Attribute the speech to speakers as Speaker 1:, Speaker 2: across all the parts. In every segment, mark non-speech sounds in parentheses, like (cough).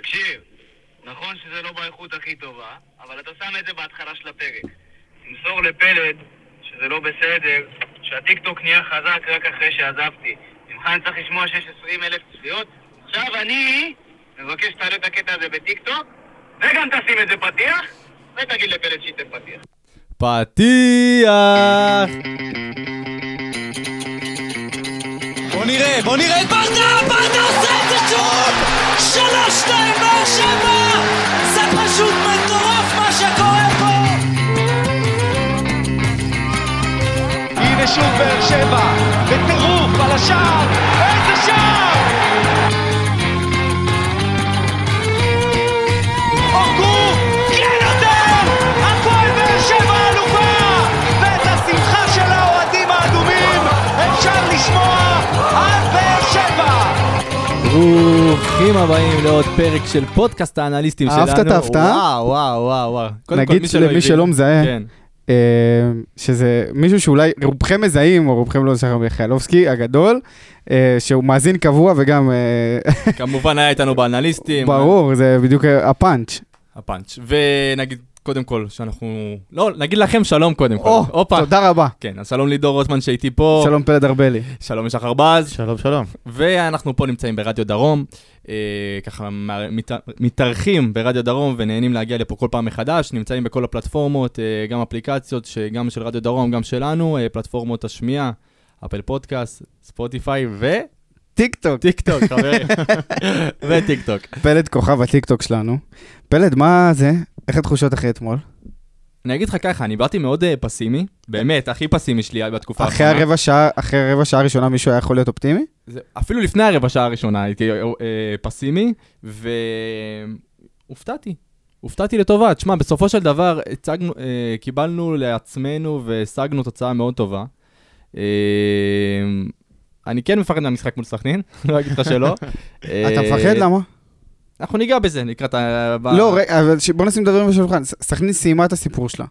Speaker 1: תקשיב, נכון שזה לא באיכות הכי טובה, אבל אתה שם את זה בהתחלה של הפרק. תמסור לפלד שזה לא בסדר, שהטיקטוק נהיה חזק רק אחרי שעזבתי. ממך אני צריך לשמוע שיש 20 אלף צפיות? עכשיו אני מבקש שתעלה את הקטע הזה בטיקטוק, וגם תשים את זה פתיח, ותגיד לפלד שייתן פתיח.
Speaker 2: פתיח! בוא נראה, בוא נראה את
Speaker 3: ברדה, ברדה עושה את זה שוב! שלוש, שתיים, באר שבע! זה פשוט מטורף מה שקורה פה!
Speaker 4: הנה שוב באר שבע, בטירוף על השער, איזה שער! אורגו, כן נותן! הפועל באר שבע אלופה! ואת השמחה של האוהדים האדומים אפשר לשמוע עד באר שבע!
Speaker 2: ברוכים הבאים לעוד פרק של פודקאסט האנליסטים שלנו.
Speaker 5: אהבת את ההפתעה?
Speaker 2: וואו, וואו, וואו, וואו. קודם כל,
Speaker 5: נגיד
Speaker 2: מי שלא
Speaker 5: למי
Speaker 2: הבין-
Speaker 5: שלא מזהה.
Speaker 2: כן.
Speaker 5: אה, שזה מישהו שאולי רובכם מזהים, או רובכם לא זוכר, מיכאלובסקי הגדול, אה, שהוא מאזין קבוע וגם, אה,
Speaker 2: כמובן היה איתנו באנליסטים.
Speaker 5: ברור, זה בדיוק אה, הפאנץ'.
Speaker 2: הפאנץ'. ונגיד, קודם כל, שאנחנו... לא, נגיד לכם שלום קודם כל.
Speaker 5: או,
Speaker 2: הופה.
Speaker 5: תודה רבה.
Speaker 2: כן, אז שלום לידור רוטמן שאיתי פה.
Speaker 5: שלום פלד ארבלי.
Speaker 2: שלום ישחר בז.
Speaker 6: שלום, שלום.
Speaker 2: ואנחנו פה נמצאים ברדיו דרום. אה, ככה מה- מת- מתארחים ברדיו דרום ונהנים להגיע לפה כל פעם מחדש. נמצאים בכל הפלטפורמות, אה, גם אפליקציות, ש- גם של רדיו דרום, גם שלנו, אה, פלטפורמות השמיעה, אפל פודקאסט, ספוטיפיי וטיק
Speaker 5: טיק טוק.
Speaker 2: טוק, חברים. וטיק טוק.
Speaker 5: פלד כוכב הטיקטוק שלנו. פלד, מה זה? איך התחושות אחרי אתמול?
Speaker 2: אני אגיד לך ככה, אני באתי מאוד אה, פסימי, באמת, הכי פסימי שלי בתקופה
Speaker 5: אחרי
Speaker 2: האחרונה.
Speaker 5: הרבע שעה, אחרי הרבע שעה הראשונה מישהו היה יכול להיות אופטימי?
Speaker 2: זה- אפילו לפני הרבע שעה הראשונה הייתי אה, אה, פסימי, והופתעתי. הופתעתי לטובה. תשמע, בסופו של דבר הצגנו, אה, קיבלנו לעצמנו והשגנו תוצאה מאוד טובה. אה, אני כן מפחד מהמשחק מול סכנין, (laughs) לא אגיד לך שלא. אה,
Speaker 5: אתה מפחד? למה?
Speaker 2: אנחנו ניגע בזה לקראת ה... ב-
Speaker 5: לא, רגע, אבל ש- בוא נשים את הדברים בשולחן. ס- סכנין סיימה את הסיפור שלה.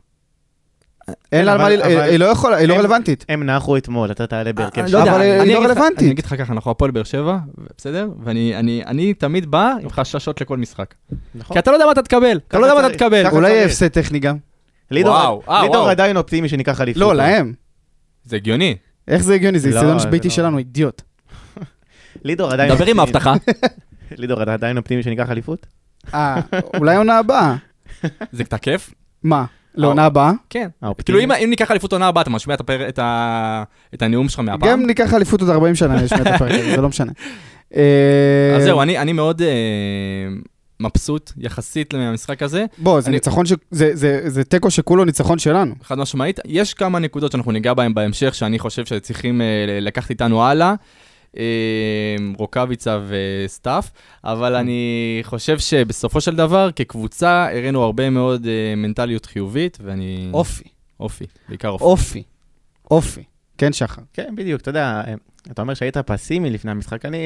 Speaker 5: אין לה על
Speaker 6: אבל-
Speaker 5: מה, ל-
Speaker 6: אבל-
Speaker 5: היא לא יכולה, היא לא
Speaker 6: הם-
Speaker 5: רלוונטית.
Speaker 6: הם נחו אתמול, אתה תעלה בהרכב
Speaker 2: אני
Speaker 6: שלך.
Speaker 2: לא יודע,
Speaker 5: אבל
Speaker 2: אני-
Speaker 5: היא
Speaker 2: אני
Speaker 5: לא
Speaker 2: אגיד לך-
Speaker 5: רלוונטית.
Speaker 2: אני אגיד לך ככה, אנחנו הפועל באר שבע, בסדר? ואני אני- אני תמיד בא עם חששות לכל משחק.
Speaker 6: נכון.
Speaker 2: כי אתה לא יודע מה אתה תקבל, אתה לא יודע מה אתה
Speaker 6: צריך.
Speaker 2: תקבל.
Speaker 6: ככה
Speaker 5: אולי
Speaker 6: צריך.
Speaker 5: יהיה הפסד טכני גם.
Speaker 6: לידור-
Speaker 2: וואו, אה, וואו.
Speaker 6: לידור עדיין אופטימי שניקח אליפות.
Speaker 5: לא, להם.
Speaker 2: זה הגיוני.
Speaker 5: איך זה הגיוני? זה
Speaker 6: לא,
Speaker 5: איצטדיון
Speaker 6: זה
Speaker 5: ביתי
Speaker 6: לא.
Speaker 5: שלנו, אידיוט.
Speaker 6: לידור עדיין
Speaker 2: דבר עם
Speaker 6: אופטימי-
Speaker 2: ההבטחה.
Speaker 6: לידור אתה עדיין אופטימי שניקח אליפות?
Speaker 5: אה, (laughs) אולי עונה הבאה.
Speaker 2: זה תקף?
Speaker 5: מה? לעונה הבאה?
Speaker 2: כן.
Speaker 6: האופטימי-
Speaker 2: כאילו אם- אם ניקח אליפות עונה הבאה, אתה משמיע את הפר- את ה- את הנאום שלך מהפעם?
Speaker 5: גם ניקח אליפות עוד 40 שנה, נשמע את הפרק הזה, זה לא משנה. אה,
Speaker 2: אז זהו, אני אני מאוד אה, מבסוט יחסית מהמשחק הזה,
Speaker 5: בוא, זה
Speaker 2: אני-
Speaker 5: ניצחון ש... זה- זה- זה תיקו שכולו ניצחון שלנו.
Speaker 2: חד משמעית. יש כמה נקודות שאנחנו ניגע בהן בהמשך, שאני חושב שצריכים אה, ל- לקחת איתנו הלאה. אה, רוקאביצה וסטאף, אבל אני חושב שבסופו של דבר, כקבוצה, הראינו הרבה מאוד אה, מנטליות חיובית, ואני...
Speaker 5: אופי,
Speaker 2: אופי, בעיקר אופי.
Speaker 5: אופי, אופי. כן, שחר.
Speaker 6: כן, בדיוק, אתה יודע, אתה אומר שהיית פסימי לפני המשחק, אני...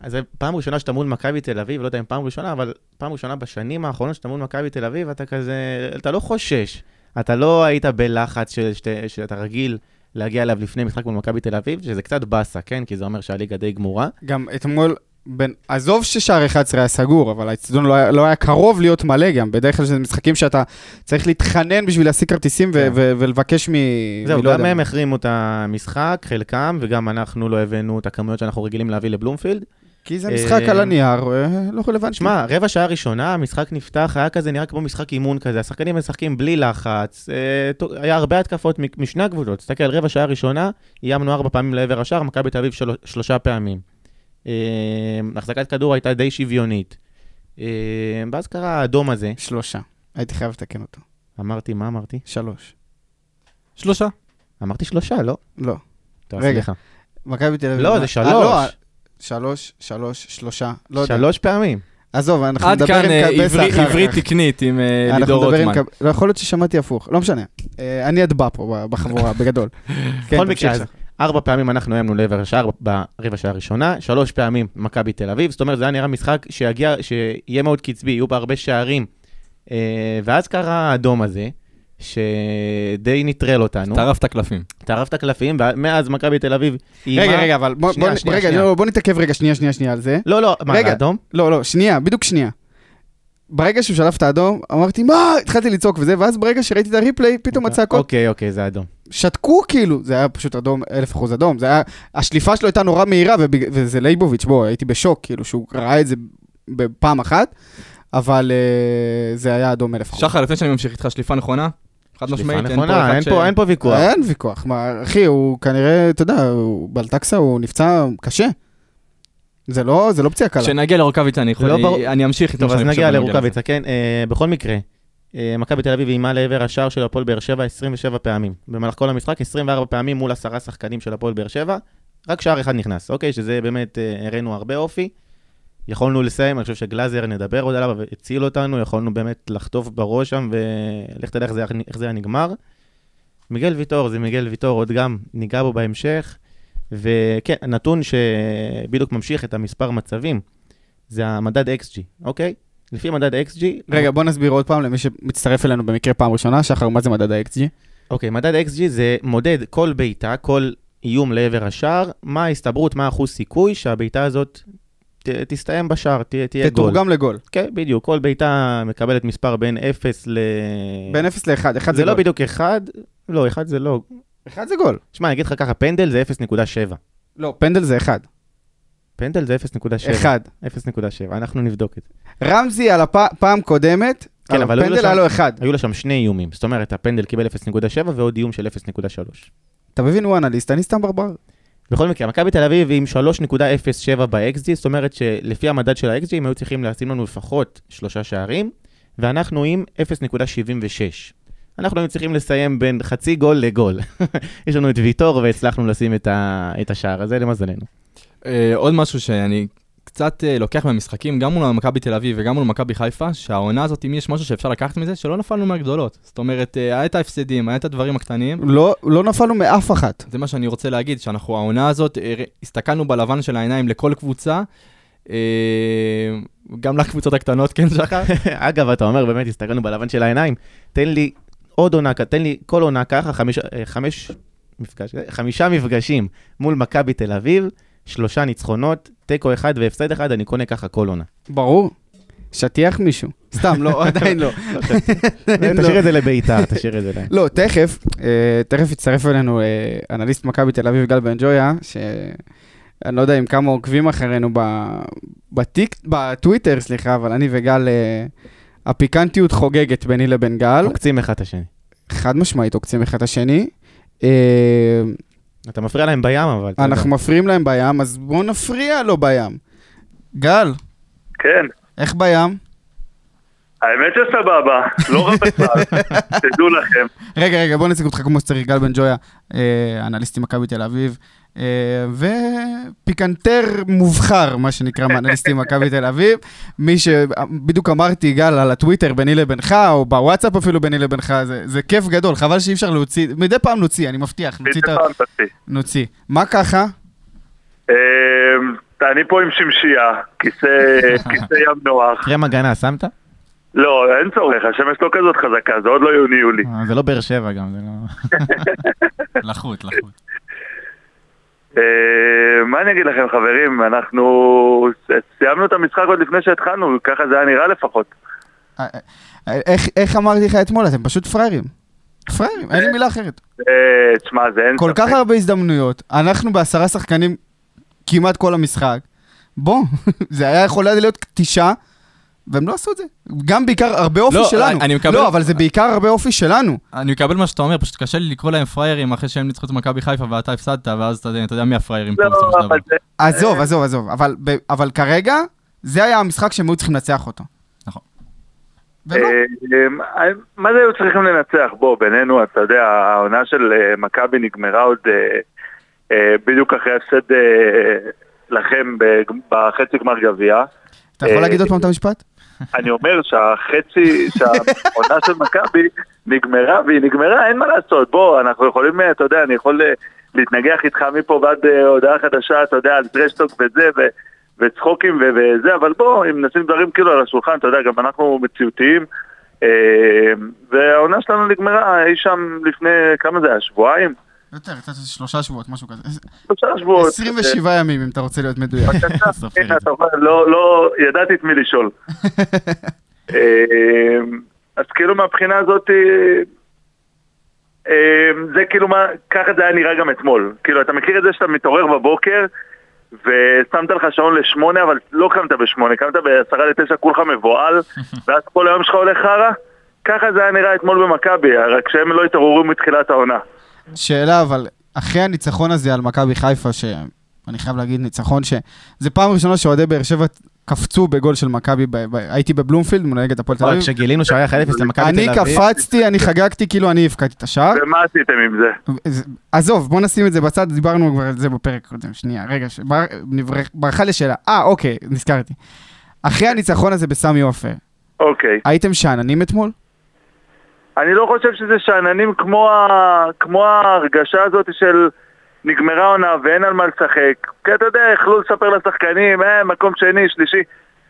Speaker 6: אז זה פעם ראשונה שאתה מול מכבי תל אביב, לא יודע אם פעם ראשונה, אבל פעם ראשונה בשנים האחרונות שאתה מול מכבי תל אביב, אתה כזה, אתה לא חושש. אתה לא היית בלחץ ש, שת, שאתה רגיל להגיע אליו לפני משחק מול מכבי תל אביב, שזה קצת באסה, כן? כי זה אומר שהליגה די גמורה.
Speaker 5: גם אתמול, בין- עזוב ששער 11 היה סגור, אבל האצטדיון לא היה- לא היה קרוב להיות מלא גם. בדרך כלל זה משחקים שאתה צריך להתחנן בשביל להשיג כרטיסים ו-
Speaker 6: כן.
Speaker 5: ו- ולבקש מ... מלא
Speaker 6: זהו, גם
Speaker 5: לא יודע
Speaker 6: הם
Speaker 5: מי.
Speaker 6: החרימו את המשחק, חלקם, וגם אנחנו לא הבאנו את הכמויות שאנחנו רגילים להביא לבלומפילד.
Speaker 5: כי זה משחק
Speaker 6: אה,
Speaker 5: על הנייר, אה, לא רלוונטי.
Speaker 6: שמע, רבע שעה ראשונה, המשחק נפתח, היה כזה נראה כמו משחק אימון כזה, השחקנים משחקים בלי לחץ, אה, טו- היה הרבה התקפות מ- משני הקבוצות, תסתכל, רבע שעה ראשונה, איימנו ארבע פעמים לעבר השער, מכבי תל אביב של... שלושה פעמים. אה, החזקת כדור הייתה די שוויונית. אה, ואז קרה האדום הזה,
Speaker 5: שלושה. הייתי חייב לתקן אותו.
Speaker 6: אמרתי, מה אמרתי?
Speaker 5: שלוש.
Speaker 2: שלושה.
Speaker 6: אמרתי שלושה, לא?
Speaker 5: לא.
Speaker 6: טוב,
Speaker 5: רגע.
Speaker 6: סליחה.
Speaker 5: מכבי תל אביב.
Speaker 6: לא,
Speaker 5: מה-
Speaker 6: זה
Speaker 5: אה,
Speaker 6: שלוש.
Speaker 5: לא, שלוש, שלוש, שלושה. לא יודע.
Speaker 6: שלוש פעמים.
Speaker 5: עזוב, אנחנו
Speaker 2: עד
Speaker 5: נדבר
Speaker 2: כאן אה,
Speaker 5: עם קבסה
Speaker 2: עברית-
Speaker 5: אחר כך.
Speaker 2: עברית תקנית עם אה,
Speaker 5: אנחנו
Speaker 2: לידור
Speaker 5: נדבר עם
Speaker 2: רוטמן.
Speaker 5: קב- לא, יכול להיות ששמעתי הפוך, לא משנה. אה, אני אטבע פה ב- בחבורה, בגדול. כן,
Speaker 6: (laughs) בכל
Speaker 5: תמשיך
Speaker 6: מקרה, אז
Speaker 5: שחר.
Speaker 6: ארבע פעמים אנחנו היינו לעבר השער ברבע שעה הראשונה, שלוש פעמים מכבי תל אביב, זאת אומרת, זה היה נראה משחק שיגיע, שיהיה מאוד קצבי, יהיו בה הרבה שערים. אה, ואז קרה האדום הזה, שדי נטרל אותנו.
Speaker 2: טרף את הקלפים.
Speaker 6: טרף את הקלפים, ומאז מכבי תל אביב היא...
Speaker 5: רגע,
Speaker 6: מה-
Speaker 5: רגע, אבל בוא-
Speaker 6: שנייה,
Speaker 5: בוא-
Speaker 6: שנייה,
Speaker 5: רגע,
Speaker 6: שנייה.
Speaker 5: לא, בוא נתעכב רגע שנייה, שנייה, שנייה על זה.
Speaker 6: לא, לא, מה,
Speaker 5: רגע.
Speaker 6: אדום?
Speaker 5: לא, לא, שנייה, בדיוק שנייה. ברגע שהוא שלף את האדום, אמרתי, מה? התחלתי לצעוק וזה, ואז ברגע שראיתי את הריפליי, פתאום הצעקות
Speaker 6: אוקיי, אוקיי, זה אדום.
Speaker 5: שתקו כאילו. זה היה פשוט אדום, אלף אחוז אדום. זה היה, השליפה שלו הייתה נורא מהירה, ובג- וזה לייבוביץ', בוא, הייתי בשוק, כאילו, שהוא ראה את זה בפעם אחת, אבל אה, זה היה אדום אלף אחוז.
Speaker 2: שחר, לפני שאני ממשיך איתך, שליפה נכונה? חד
Speaker 6: שליפה
Speaker 2: משמעית, אין פה
Speaker 6: נכונה,
Speaker 2: אחד
Speaker 6: נכון, אה, אין
Speaker 2: ש...
Speaker 6: פה- אין פה ויכוח.
Speaker 5: אין ויכוח, מה, אחי, הוא כנראה, אתה יודע, הוא בלטקסה, הוא נפצע קשה. זה לא, זה לא פציעה קלה.
Speaker 2: כשנגיע לרוקאביצה, אני יכול...
Speaker 6: לא ברור-
Speaker 2: אני אמשיך איתו.
Speaker 6: טוב, אז נגיע לרוקאביצה, כן. אה, בכל מקרה, אה, מכבי תל אביב איימה לעבר השער של הפועל באר שבע 27 פעמים. במהלך כל המשחק, 24 פעמים מול עשרה שחקנים של הפועל באר שבע, רק שער אחד נכנס, אוקיי? שזה באמת, אה, הראינו הרבה אופי. יכולנו לסיים, אני חושב שגלאזר, נדבר עוד עליו, אבל הציל אותנו, יכולנו באמת לחטוף בראש שם, ולך תדע איך זה, איך זה היה נגמר. מיגל ויטור, זה מיגל ויטור, עוד גם ניגע בו בהמשך. וכן, נתון שבדיוק ממשיך את המספר מצבים, זה המדד XG, אוקיי? לפי מדד XG...
Speaker 5: רגע, בוא נסביר עוד פעם למי שמצטרף אלינו במקרה פעם ראשונה, שחר, מה זה מדד ה-XG?
Speaker 6: אוקיי, מדד XG זה מודד כל בעיטה, כל איום לעבר השער, מה ההסתברות, מה האחוז סיכוי שהבעיטה הזאת ת, תסתיים בשער, תה, תהיה גול.
Speaker 5: תתורגם לגול.
Speaker 6: כן, בדיוק, כל בעיטה מקבלת מספר בין 0 ל...
Speaker 5: בין 0 ל-1, 1
Speaker 6: זה
Speaker 5: זה
Speaker 6: לא
Speaker 5: גול.
Speaker 6: בדיוק 1, לא, 1 זה לא...
Speaker 5: 1 זה גול.
Speaker 6: שמע, אני אגיד לך ככה, פנדל זה 0.7.
Speaker 5: לא, פנדל זה 1.
Speaker 6: פנדל זה 0.7.
Speaker 5: 1.
Speaker 6: 0.7, אנחנו נבדוק את זה.
Speaker 5: רמזי על הפעם קודמת,
Speaker 6: כן,
Speaker 5: על
Speaker 6: אבל היו לו
Speaker 5: פנדל
Speaker 6: שם-
Speaker 5: היה לו 1.
Speaker 6: היו לו שם שני איומים, זאת אומרת, הפנדל קיבל 0.7 ועוד איום של 0.3.
Speaker 5: אתה מבין, הוא אנליסט, אני סתם ברבר.
Speaker 6: בכל מקרה, מכבי תל אביב עם 3.07 ב-XG, זאת אומרת שלפי המדד של ה-XG, הם היו צריכים לשים לנו לפחות שלושה שערים, ואנחנו עם 0.76. אנחנו היינו צריכים לסיים בין חצי גול לגול. (laughs) יש לנו את ויטור והצלחנו לשים את, ה... את השער הזה, למזלנו.
Speaker 2: אה, עוד משהו שאני קצת אה, לוקח מהמשחקים, גם מול מכבי תל אביב וגם מול מכבי חיפה, שהעונה הזאת, אם יש משהו שאפשר לקחת מזה, שלא נפלנו מהגדולות. זאת אומרת, אה, היה את ההפסדים, היה את הדברים הקטנים.
Speaker 5: לא לא נפלנו מאף אחת.
Speaker 2: זה מה שאני רוצה להגיד, שאנחנו, העונה הזאת, אה, ר- הסתכלנו בלבן של העיניים לכל קבוצה, אה, גם לקבוצות הקטנות, כן, שחר?
Speaker 6: (laughs) אגב, אתה אומר, באמת, הסתכלנו בלבן של העיניים, תן לי עוד עונה, כ- תן לי כל עונה ככה, חמישה, אה, חמש, מפגש, אה, חמישה מפגשים מול מכבי תל אביב, שלושה ניצחונות, תיקו אחד והפסד אחד, אני קונה ככה כל עונה.
Speaker 5: ברור. שטיח מישהו. סתם, (laughs) לא, עדיין לא.
Speaker 6: (laughs) תשאיר את זה לביתר, תשאיר את
Speaker 5: (laughs)
Speaker 6: זה להם.
Speaker 5: לא, תכף, אה, תכף יצטרף אלינו אה, אנליסט מכבי תל אביב גל בן ג'ויה, שאני לא יודע אם כמה עוקבים אחרינו ב- בטיק, בטוויטר, סליחה, אבל אני וגל, אה, הפיקנטיות חוגגת ביני לבין גל,
Speaker 6: עוקצים אחד את השני.
Speaker 5: חד משמעית עוקצים אחד את השני. אה,
Speaker 6: אתה מפריע להם בים, אבל... אתה יודע.
Speaker 5: אנחנו מפריעים להם בים, אז בואו נפריע לו בים. גל,
Speaker 7: כן,
Speaker 5: איך בים?
Speaker 7: האמת שסבבה, לא רע
Speaker 5: (laughs)
Speaker 7: בכלל, תדעו לכם.
Speaker 5: רגע, רגע, בוא נציג אותך כמו שצריך, גל בן ג'ויה, אה, אנליסט עם מכבי תל אביב, אה, ופיקנטר מובחר, מה שנקרא, מאנליסטים מכבי תל אביב. מי שבדיוק אמרתי, גל, על הטוויטר ביני לבינך, או בוואטסאפ אפילו ביני לבינך, זה, זה כיף גדול, חבל שאי אפשר להוציא, מדי פעם נוציא, אני מבטיח, נוציא
Speaker 7: מדי
Speaker 5: את ה...
Speaker 7: פעם תעשי.
Speaker 5: נוציא. מה ככה?
Speaker 7: אה, אני פה עם שמשייה,
Speaker 5: (laughs)
Speaker 7: כיסא כיסא ים נוח.
Speaker 6: קרם הגנה שמת?
Speaker 7: לא, אין צורך, השמש לא כזאת חזקה, זה עוד לא יוני-יולי.
Speaker 6: אה, זה לא באר שבע גם, זה לא...
Speaker 2: לחות, לחות.
Speaker 7: אה, מה אני אגיד לכם, חברים, אנחנו סיימנו את המשחק עוד לפני שהתחלנו, ככה זה היה נראה לפחות.
Speaker 5: אה, אה, איך, איך אמרתי לך אתמול? אתם פשוט פראיירים. פראיירים, אין לי מילה אחרת.
Speaker 7: אה, תשמע, זה אין
Speaker 5: כל
Speaker 7: ספק.
Speaker 5: כך הרבה הזדמנויות, אנחנו בעשרה שחקנים כמעט כל המשחק. בוא, (laughs) זה היה יכול היה להיות תשעה, והם לא עשו את זה. גם בעיקר הרבה אופי
Speaker 2: לא,
Speaker 5: שלנו.
Speaker 2: אני מקבל-
Speaker 5: לא, אבל זה בעיקר הרבה אופי שלנו.
Speaker 2: אני מקבל מה שאתה אומר, פשוט קשה לי לקרוא להם פראיירים אחרי שהם ניצחו את מכבי חיפה ואתה הפסדת, ואז אתה יודע- אתה יודע מי הפראיירים פה
Speaker 7: לא,
Speaker 2: בסופו של דבר.
Speaker 7: אבל זה-
Speaker 2: אה,
Speaker 5: עזוב, עזוב, עזוב. אבל, ב- אבל כרגע, זה היה המשחק שהם היו צריכים לנצח אותו.
Speaker 2: נכון.
Speaker 5: ולא,
Speaker 7: אה, אה, מה זה היו צריכים לנצח? בוא, בינינו, אתה יודע, העונה של אה, מכבי נגמרה עוד אה, אה, בדיוק אחרי הפסד אה, לכם בג- בחצי גמר גביע.
Speaker 5: אתה יכול
Speaker 7: אה,
Speaker 5: להגיד עוד פעם את המשפט?
Speaker 7: אני אומר שהחצי, שהעונה של מכבי נגמרה, והיא נגמרה, אין מה לעשות. בוא, אנחנו יכולים, אה, אתה יודע, אני יכול אה, להתנגח איתך מפה ועד אה, הודעה חדשה, אתה יודע, על טרשטוק וזה, ו... וצחוקים ו- וזה, אבל בוא, אם נשים דברים כאילו על השולחן, אתה יודע, גם אנחנו מציאותיים, אה, והעונה שלנו נגמרה אי שם לפני, כמה זה היה? שבועיים?
Speaker 5: יותר, קצת שלושה שבועות, משהו כזה. אה,
Speaker 7: שלושה שבועות.
Speaker 5: 27 ימים, אם אתה רוצה להיות מדויק. (laughs)
Speaker 7: בבקשה,
Speaker 5: סופר
Speaker 7: הנה,
Speaker 5: את זה.
Speaker 7: אתה אומר, לא, לא, ידעתי את מי
Speaker 5: (laughs)
Speaker 7: לשאול. אה, אז כאילו מהבחינה הזאת, אה, אה, זה כאילו מה, ככה זה היה נראה גם אתמול. כאילו, אתה מכיר את זה שאתה מתעורר בבוקר, ושמת לך שעון לשמונה, אבל לא קמת בשמונה, קמת בעשרה לתשע, כולך
Speaker 5: (laughs)
Speaker 7: מבוהל, ואז כל היום שלך הולך חרא? ככה זה היה נראה אתמול במכבי, רק שהם לא התעוררו מתחילת העונה.
Speaker 5: שאלה, אבל אחרי הניצחון הזה על מכבי חיפה, שאני חייב להגיד ניצחון, שזה פעם ראשונה שאוהדי באר שבע קפצו בגול של מכבי, ב- ב- הייתי בבלומפילד מול נגד הפועל תל
Speaker 6: אבל
Speaker 5: אביב.
Speaker 6: לא, כשגילינו שהיה 1-0 למכבי תל
Speaker 5: אני
Speaker 6: אביב,
Speaker 5: קפצתי, אני חגגתי, כאילו אני הבקעתי את השער.
Speaker 7: ומה עשיתם עם זה?
Speaker 5: זה- עזוב, בוא נשים את זה בצד, דיברנו כבר על זה בפרק קודם. שנייה, רגע, ש- בר- נבר- ברחה לי שאלה. אה, אוקיי, נזכרתי. אחרי הניצחון הזה בסמי עופר,
Speaker 7: אוקיי.
Speaker 5: הייתם שאננים אתמול?
Speaker 7: אני לא חושב שזה שאננים כמו, ה... כמו ההרגשה הזאת של נגמרה עונה ואין על מה לשחק. כי אתה יודע, יכלו לספר לשחקנים, אה, מקום שני, שלישי,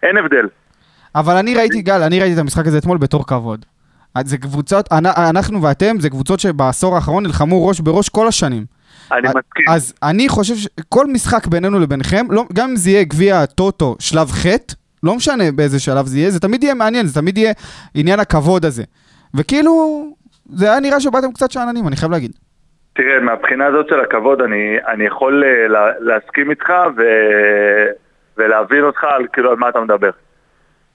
Speaker 7: אין הבדל.
Speaker 5: אבל אני ראיתי,
Speaker 7: אוקיי.
Speaker 5: גל, אני ראיתי את המשחק הזה אתמול בתור כבוד. אז זה קבוצות, אנ- אנחנו ואתם, זה קבוצות שבעשור האחרון נלחמו ראש בראש כל השנים.
Speaker 7: אני
Speaker 5: א-
Speaker 7: מסכים.
Speaker 5: אז אני חושב שכל משחק בינינו לביניכם, לא, גם אם זה יהיה גביע הטוטו שלב ח', לא משנה באיזה שלב זה יהיה, זה תמיד יהיה מעניין, זה תמיד יהיה עניין הכבוד הזה. וכאילו, זה היה נראה שבאתם קצת שאננים, אני חייב להגיד.
Speaker 7: תראה, מהבחינה הזאת של הכבוד, אני, אני יכול אה, לה, להסכים איתך ו, ולהבין אותך על, כאילו, על מה אתה מדבר.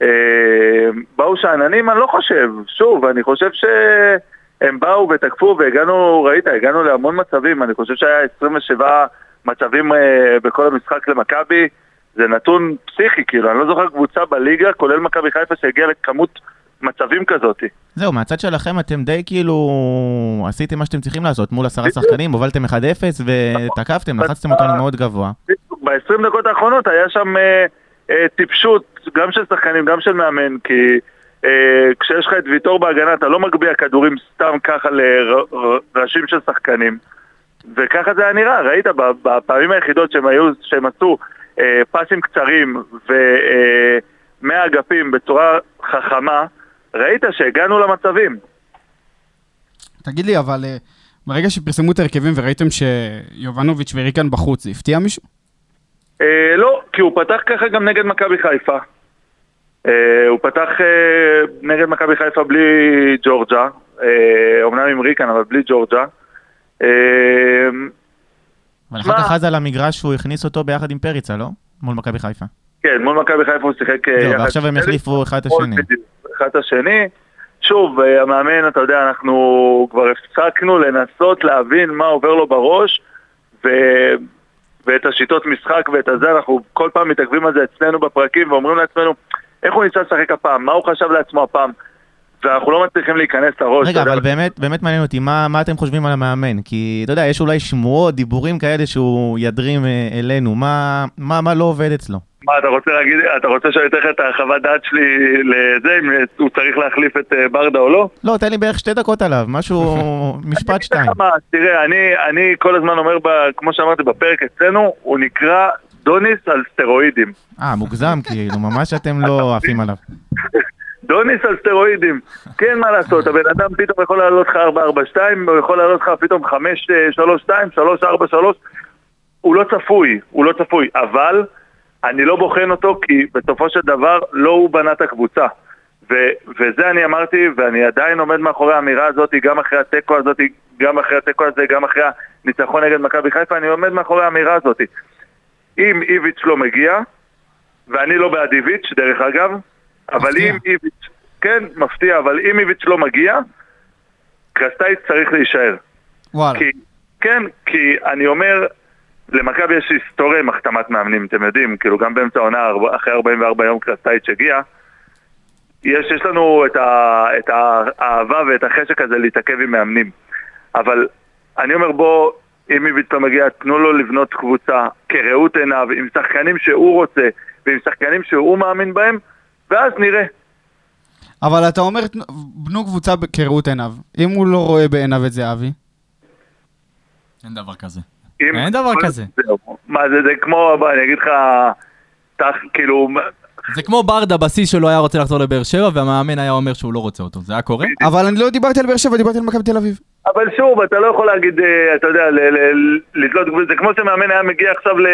Speaker 7: אה, באו שאננים, אני לא חושב. שוב, אני חושב שהם באו ותקפו והגענו, ראית, הגענו להמון מצבים. אני חושב שהיה 27 מצבים אה, בכל המשחק למכבי. זה נתון פסיכי, כאילו, אני לא זוכר קבוצה בליגה, כולל מכבי חיפה, שהגיעה לכמות מצבים כזאת.
Speaker 6: זהו, מהצד שלכם אתם די כאילו עשיתם מה שאתם צריכים לעשות מול עשרה שחקנים, הובלתם 1-0 ותקפתם, לחצתם אותנו מאוד גבוה.
Speaker 7: ב-20 דקות האחרונות היה שם אה, אה, טיפשות, גם של שחקנים, גם של מאמן, כי אה, כשיש לך את ויטור בהגנה, אתה לא מגביה כדורים סתם ככה לראשים של שחקנים. וככה זה היה נראה, ראית, ב- בפעמים היחידות שהם היו, שהם עשו אה, פסים קצרים ומהאגפים בצורה חכמה, ראית שהגענו למצבים.
Speaker 5: תגיד לי, אבל אה, ברגע שפרסמו את ההרכבים וראיתם שיובנוביץ' וריקן בחוץ, זה הפתיע מישהו?
Speaker 7: אה, לא, כי הוא פתח ככה גם נגד מכבי חיפה. אה, הוא פתח אה, נגד מכבי חיפה בלי ג'ורג'ה, אה, אומנם עם ריקן, אבל בלי ג'ורג'ה. אה,
Speaker 6: אבל אחר
Speaker 7: מה?
Speaker 6: כך אז על המגרש הוא הכניס אותו ביחד עם פריצה, לא? מול מכבי חיפה.
Speaker 7: כן, מול מכבי חיפה הוא שיחק... אה,
Speaker 6: זהו,
Speaker 7: יחד
Speaker 6: ועכשיו
Speaker 7: עם
Speaker 6: הם
Speaker 7: פליקס.
Speaker 6: יחליפו אחד את השני.
Speaker 7: בדיוק, אחד את השני. שוב, אה, המאמן, אתה יודע, אנחנו כבר הפסקנו לנסות להבין מה עובר לו בראש, ו... ואת השיטות משחק ואת הזה, אנחנו כל פעם מתעכבים על זה אצלנו בפרקים ואומרים לעצמנו, איך הוא ניסה לשחק הפעם, מה הוא חשב לעצמו הפעם, ואנחנו לא מצליחים להיכנס לראש.
Speaker 6: רגע,
Speaker 7: אתה יודע.
Speaker 6: אבל באמת, באמת מעניין אותי, מה, מה אתם חושבים על המאמן? כי, אתה יודע, יש אולי שמועות, דיבורים כאלה שהוא ידרים אה, אלינו, מה, מה, מה לא עובד אצלו?
Speaker 7: מה, אתה רוצה להגיד, אתה רוצה שאני אתן לך את החוות דעת שלי לזה, אם הוא צריך להחליף את אה, ברדה או לא?
Speaker 6: לא, תן לי בערך שתי דקות עליו, משהו, משפט שתיים.
Speaker 7: תראה, תראה, אני, אני כל הזמן אומר, ב, כמו שאמרתי בפרק אצלנו, הוא נקרא דוניס על סטרואידים.
Speaker 6: אה, מוגזם, כאילו, ממש אתם לא עפים עליו.
Speaker 7: דוניס על סטרואידים. כי אין מה לעשות, הבן אדם פתאום יכול לעלות לך 442, הוא יכול לעלות לך פתאום אה, 532, 343, הוא לא צפוי, הוא לא צפוי. אבל אני לא בוחן אותו כי בסופו של דבר לא הוא בנה את הקבוצה. ו- וזה אני אמרתי, ואני עדיין עומד מאחורי האמירה הזאת, גם אחרי התיקו הזאת, גם אחרי התיקו הזה, גם אחרי הניצחון נגד מכבי חיפה, אני עומד מאחורי האמירה הזאת. אם איביץ' לא מגיע, ואני לא בעד איביץ', דרך אגב, אבל
Speaker 5: מפתיע.
Speaker 7: אם איביץ', כן, מפתיע, אבל אם איביץ' לא מגיע, קרסטייץ צריך להישאר.
Speaker 2: אה.
Speaker 5: וואלה.
Speaker 7: כי, כן, כי אני אומר, למכבי יש היסטוריה עם החתמת מאמנים, אתם יודעים, כאילו גם באמצע העונה, ארבע- אחרי 44 יום קרסטייץ' הגיע, יש, יש לנו את, ה, את האהבה ואת החשק הזה להתעכב עם מאמנים. אבל אני אומר בוא, אם איביץ' לא מגיע, תנו לו לבנות קבוצה כראות עיניו, עם שחקנים שהוא רוצה ועם שחקנים שהוא מאמין בהם, ואז נראה.
Speaker 5: אבל אתה אומר, "תנו- בנו קבוצה ב- כראות עיניו. אם הוא לא רואה בעיניו את זהבי,
Speaker 2: אין דבר כזה.
Speaker 7: אם-
Speaker 2: אין דבר כזה.
Speaker 7: זהו. מה זה, זה כמו, בוא, אני אגיד לך, תח, כאילו,
Speaker 2: זה כמו ברדה בשיא שלו היה רוצה לחזור לבאר שבע, והמאמן היה אומר שהוא לא רוצה אותו. זה היה קורה?
Speaker 5: אבל אני לא דיברתי על באר שבע, דיברתי על מכבי תל אביב.
Speaker 7: אבל שוב, אתה לא יכול להגיד, אה, אתה יודע, ל- ל- לתלות גבול, זה כמו שמאמן היה מגיע עכשיו ל...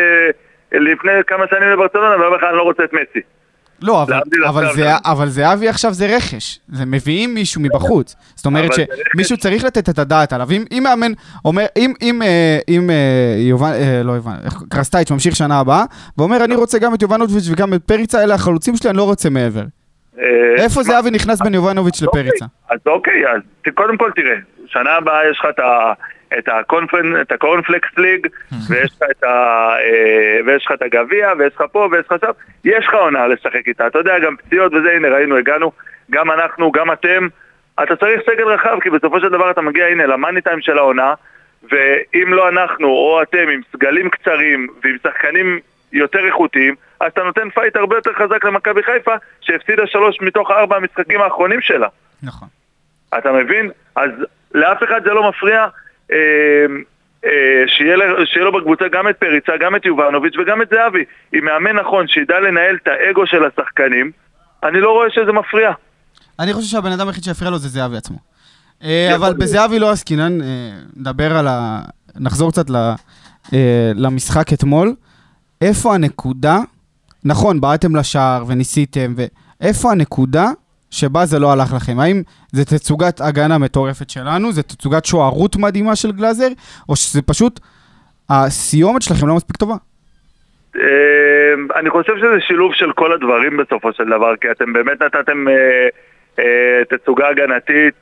Speaker 7: לפני כמה שנים לברצלונה, ואומר לך, אני לא רוצה את מסי.
Speaker 5: לא, אבל,
Speaker 7: להבדיל
Speaker 5: אבל,
Speaker 7: עכשיו,
Speaker 5: זה,
Speaker 7: גם.
Speaker 5: אבל זהבי עכשיו זה רכש. זה מביאים מישהו מבחוץ. זאת אומרת
Speaker 7: אבל זה
Speaker 5: שמישהו צריך לתת את הדעת עליו. אם, אם מאמן אומר, אם, אם, אה, אם אה, יובן, אה, לא יובן, איך- קרסטייץ' ממשיך שנה הבאה, ואומר, אני רוצה גם את יובנוביץ' וגם את פריצה, אלה החלוצים שלי, אני לא רוצה מעבר.
Speaker 7: אה,
Speaker 5: איפה
Speaker 7: תשמע,
Speaker 5: זהבי נכנס בין יובנוביץ' לפריצה?
Speaker 7: אוקיי, אז אוקיי, אז ת- קודם כל תראה, שנה הבאה יש לך את ה- את הקונפרנ- את הקורנפלקס ליג, ויש לך את ה- אה, ויש לך את הגביע, ויש לך פה, ויש לך שם, יש לך עונה לשחק איתה. אתה יודע, גם פציעות וזה, הנה ראינו, הגענו, גם אנחנו, גם אתם. אתה צריך סגל רחב, כי בסופו של דבר אתה מגיע, הנה, למאני טיים של העונה, ואם לא אנחנו או אתם עם סגלים קצרים ועם שחקנים יותר איכותיים, אז אתה נותן פייט הרבה יותר חזק למכבי חיפה, שהפסידה שלוש מתוך ארבע המשחקים האחרונים שלה.
Speaker 5: נכון.
Speaker 7: אתה מבין? אז לאף אחד זה לא מפריע אה, אה, שיהיה, ל- שיהיה לו בקבוצה גם את פריצה, גם את יובנוביץ' וגם את זהבי. עם מאמן נכון שידע לנהל את האגו של השחקנים, אני לא רואה שזה מפריע.
Speaker 5: אני חושב שהבן אדם היחיד שיפריע לו זה זהבי עצמו. אה, אבל בזהבי לא עסקינן, אה, נדבר על ה... נחזור קצת ל- אה, למשחק אתמול. איפה הנקודה, נכון, בעטתם לשער וניסיתם, ו- איפה הנקודה שבה זה לא הלך לכם? האם זה תצוגת הגנה מטורפת שלנו, זה תצוגת שוערות מדהימה של גלאזר, או שזה פשוט הסיומת שלכם לא מספיק טובה?
Speaker 7: אה, אני חושב שזה שילוב של כל הדברים בסופו של דבר, כי אתם באמת נתתם אה, אה, תצוגה הגנתית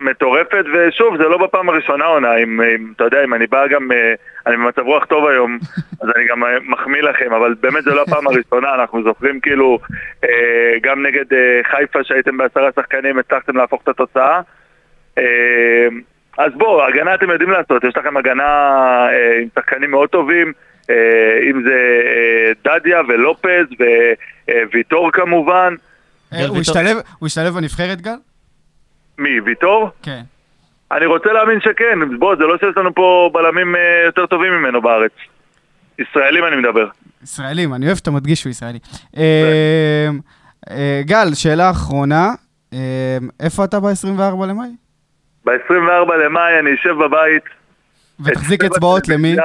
Speaker 7: מטורפת, ושוב, זה לא בפעם הראשונה עונה, אם, אם אתה יודע, אם אני בא גם, אה, אני במצב רוח טוב היום, אז אני גם אה, מחמיא לכם, אבל באמת זה לא הפעם הראשונה, אנחנו זוכרים כאילו, אה, גם נגד אה, חיפה שהייתם בעשרה שחקנים, הצלחתם להפוך את התוצאה. אה, אז בואו, הגנה אתם יודעים לעשות, יש לכם הגנה אה, עם שחקנים מאוד טובים, אה, אם זה אה, דדיה ולופז וויטור כמובן.
Speaker 5: אה, הוא
Speaker 6: ויטור.
Speaker 5: השתלב- הוא השתלב בנבחרת, גל?
Speaker 7: מי, ויטור?
Speaker 5: כן.
Speaker 7: אני רוצה להאמין שכן, בוא, זה לא שיש לנו פה בלמים אה, יותר טובים ממנו בארץ. ישראלים אני מדבר.
Speaker 5: ישראלים, אני אוהב שאתה מדגיש שהוא ישראלי. אמ, אה, גל, שאלה אחרונה, אמ, איפה אתה ב-24 למאי?
Speaker 7: ב-24 למאי אני אשב בבית.
Speaker 5: ותחזיק
Speaker 7: (laughs) אשב
Speaker 5: אצבעות למי?
Speaker 7: בטלוויזיה,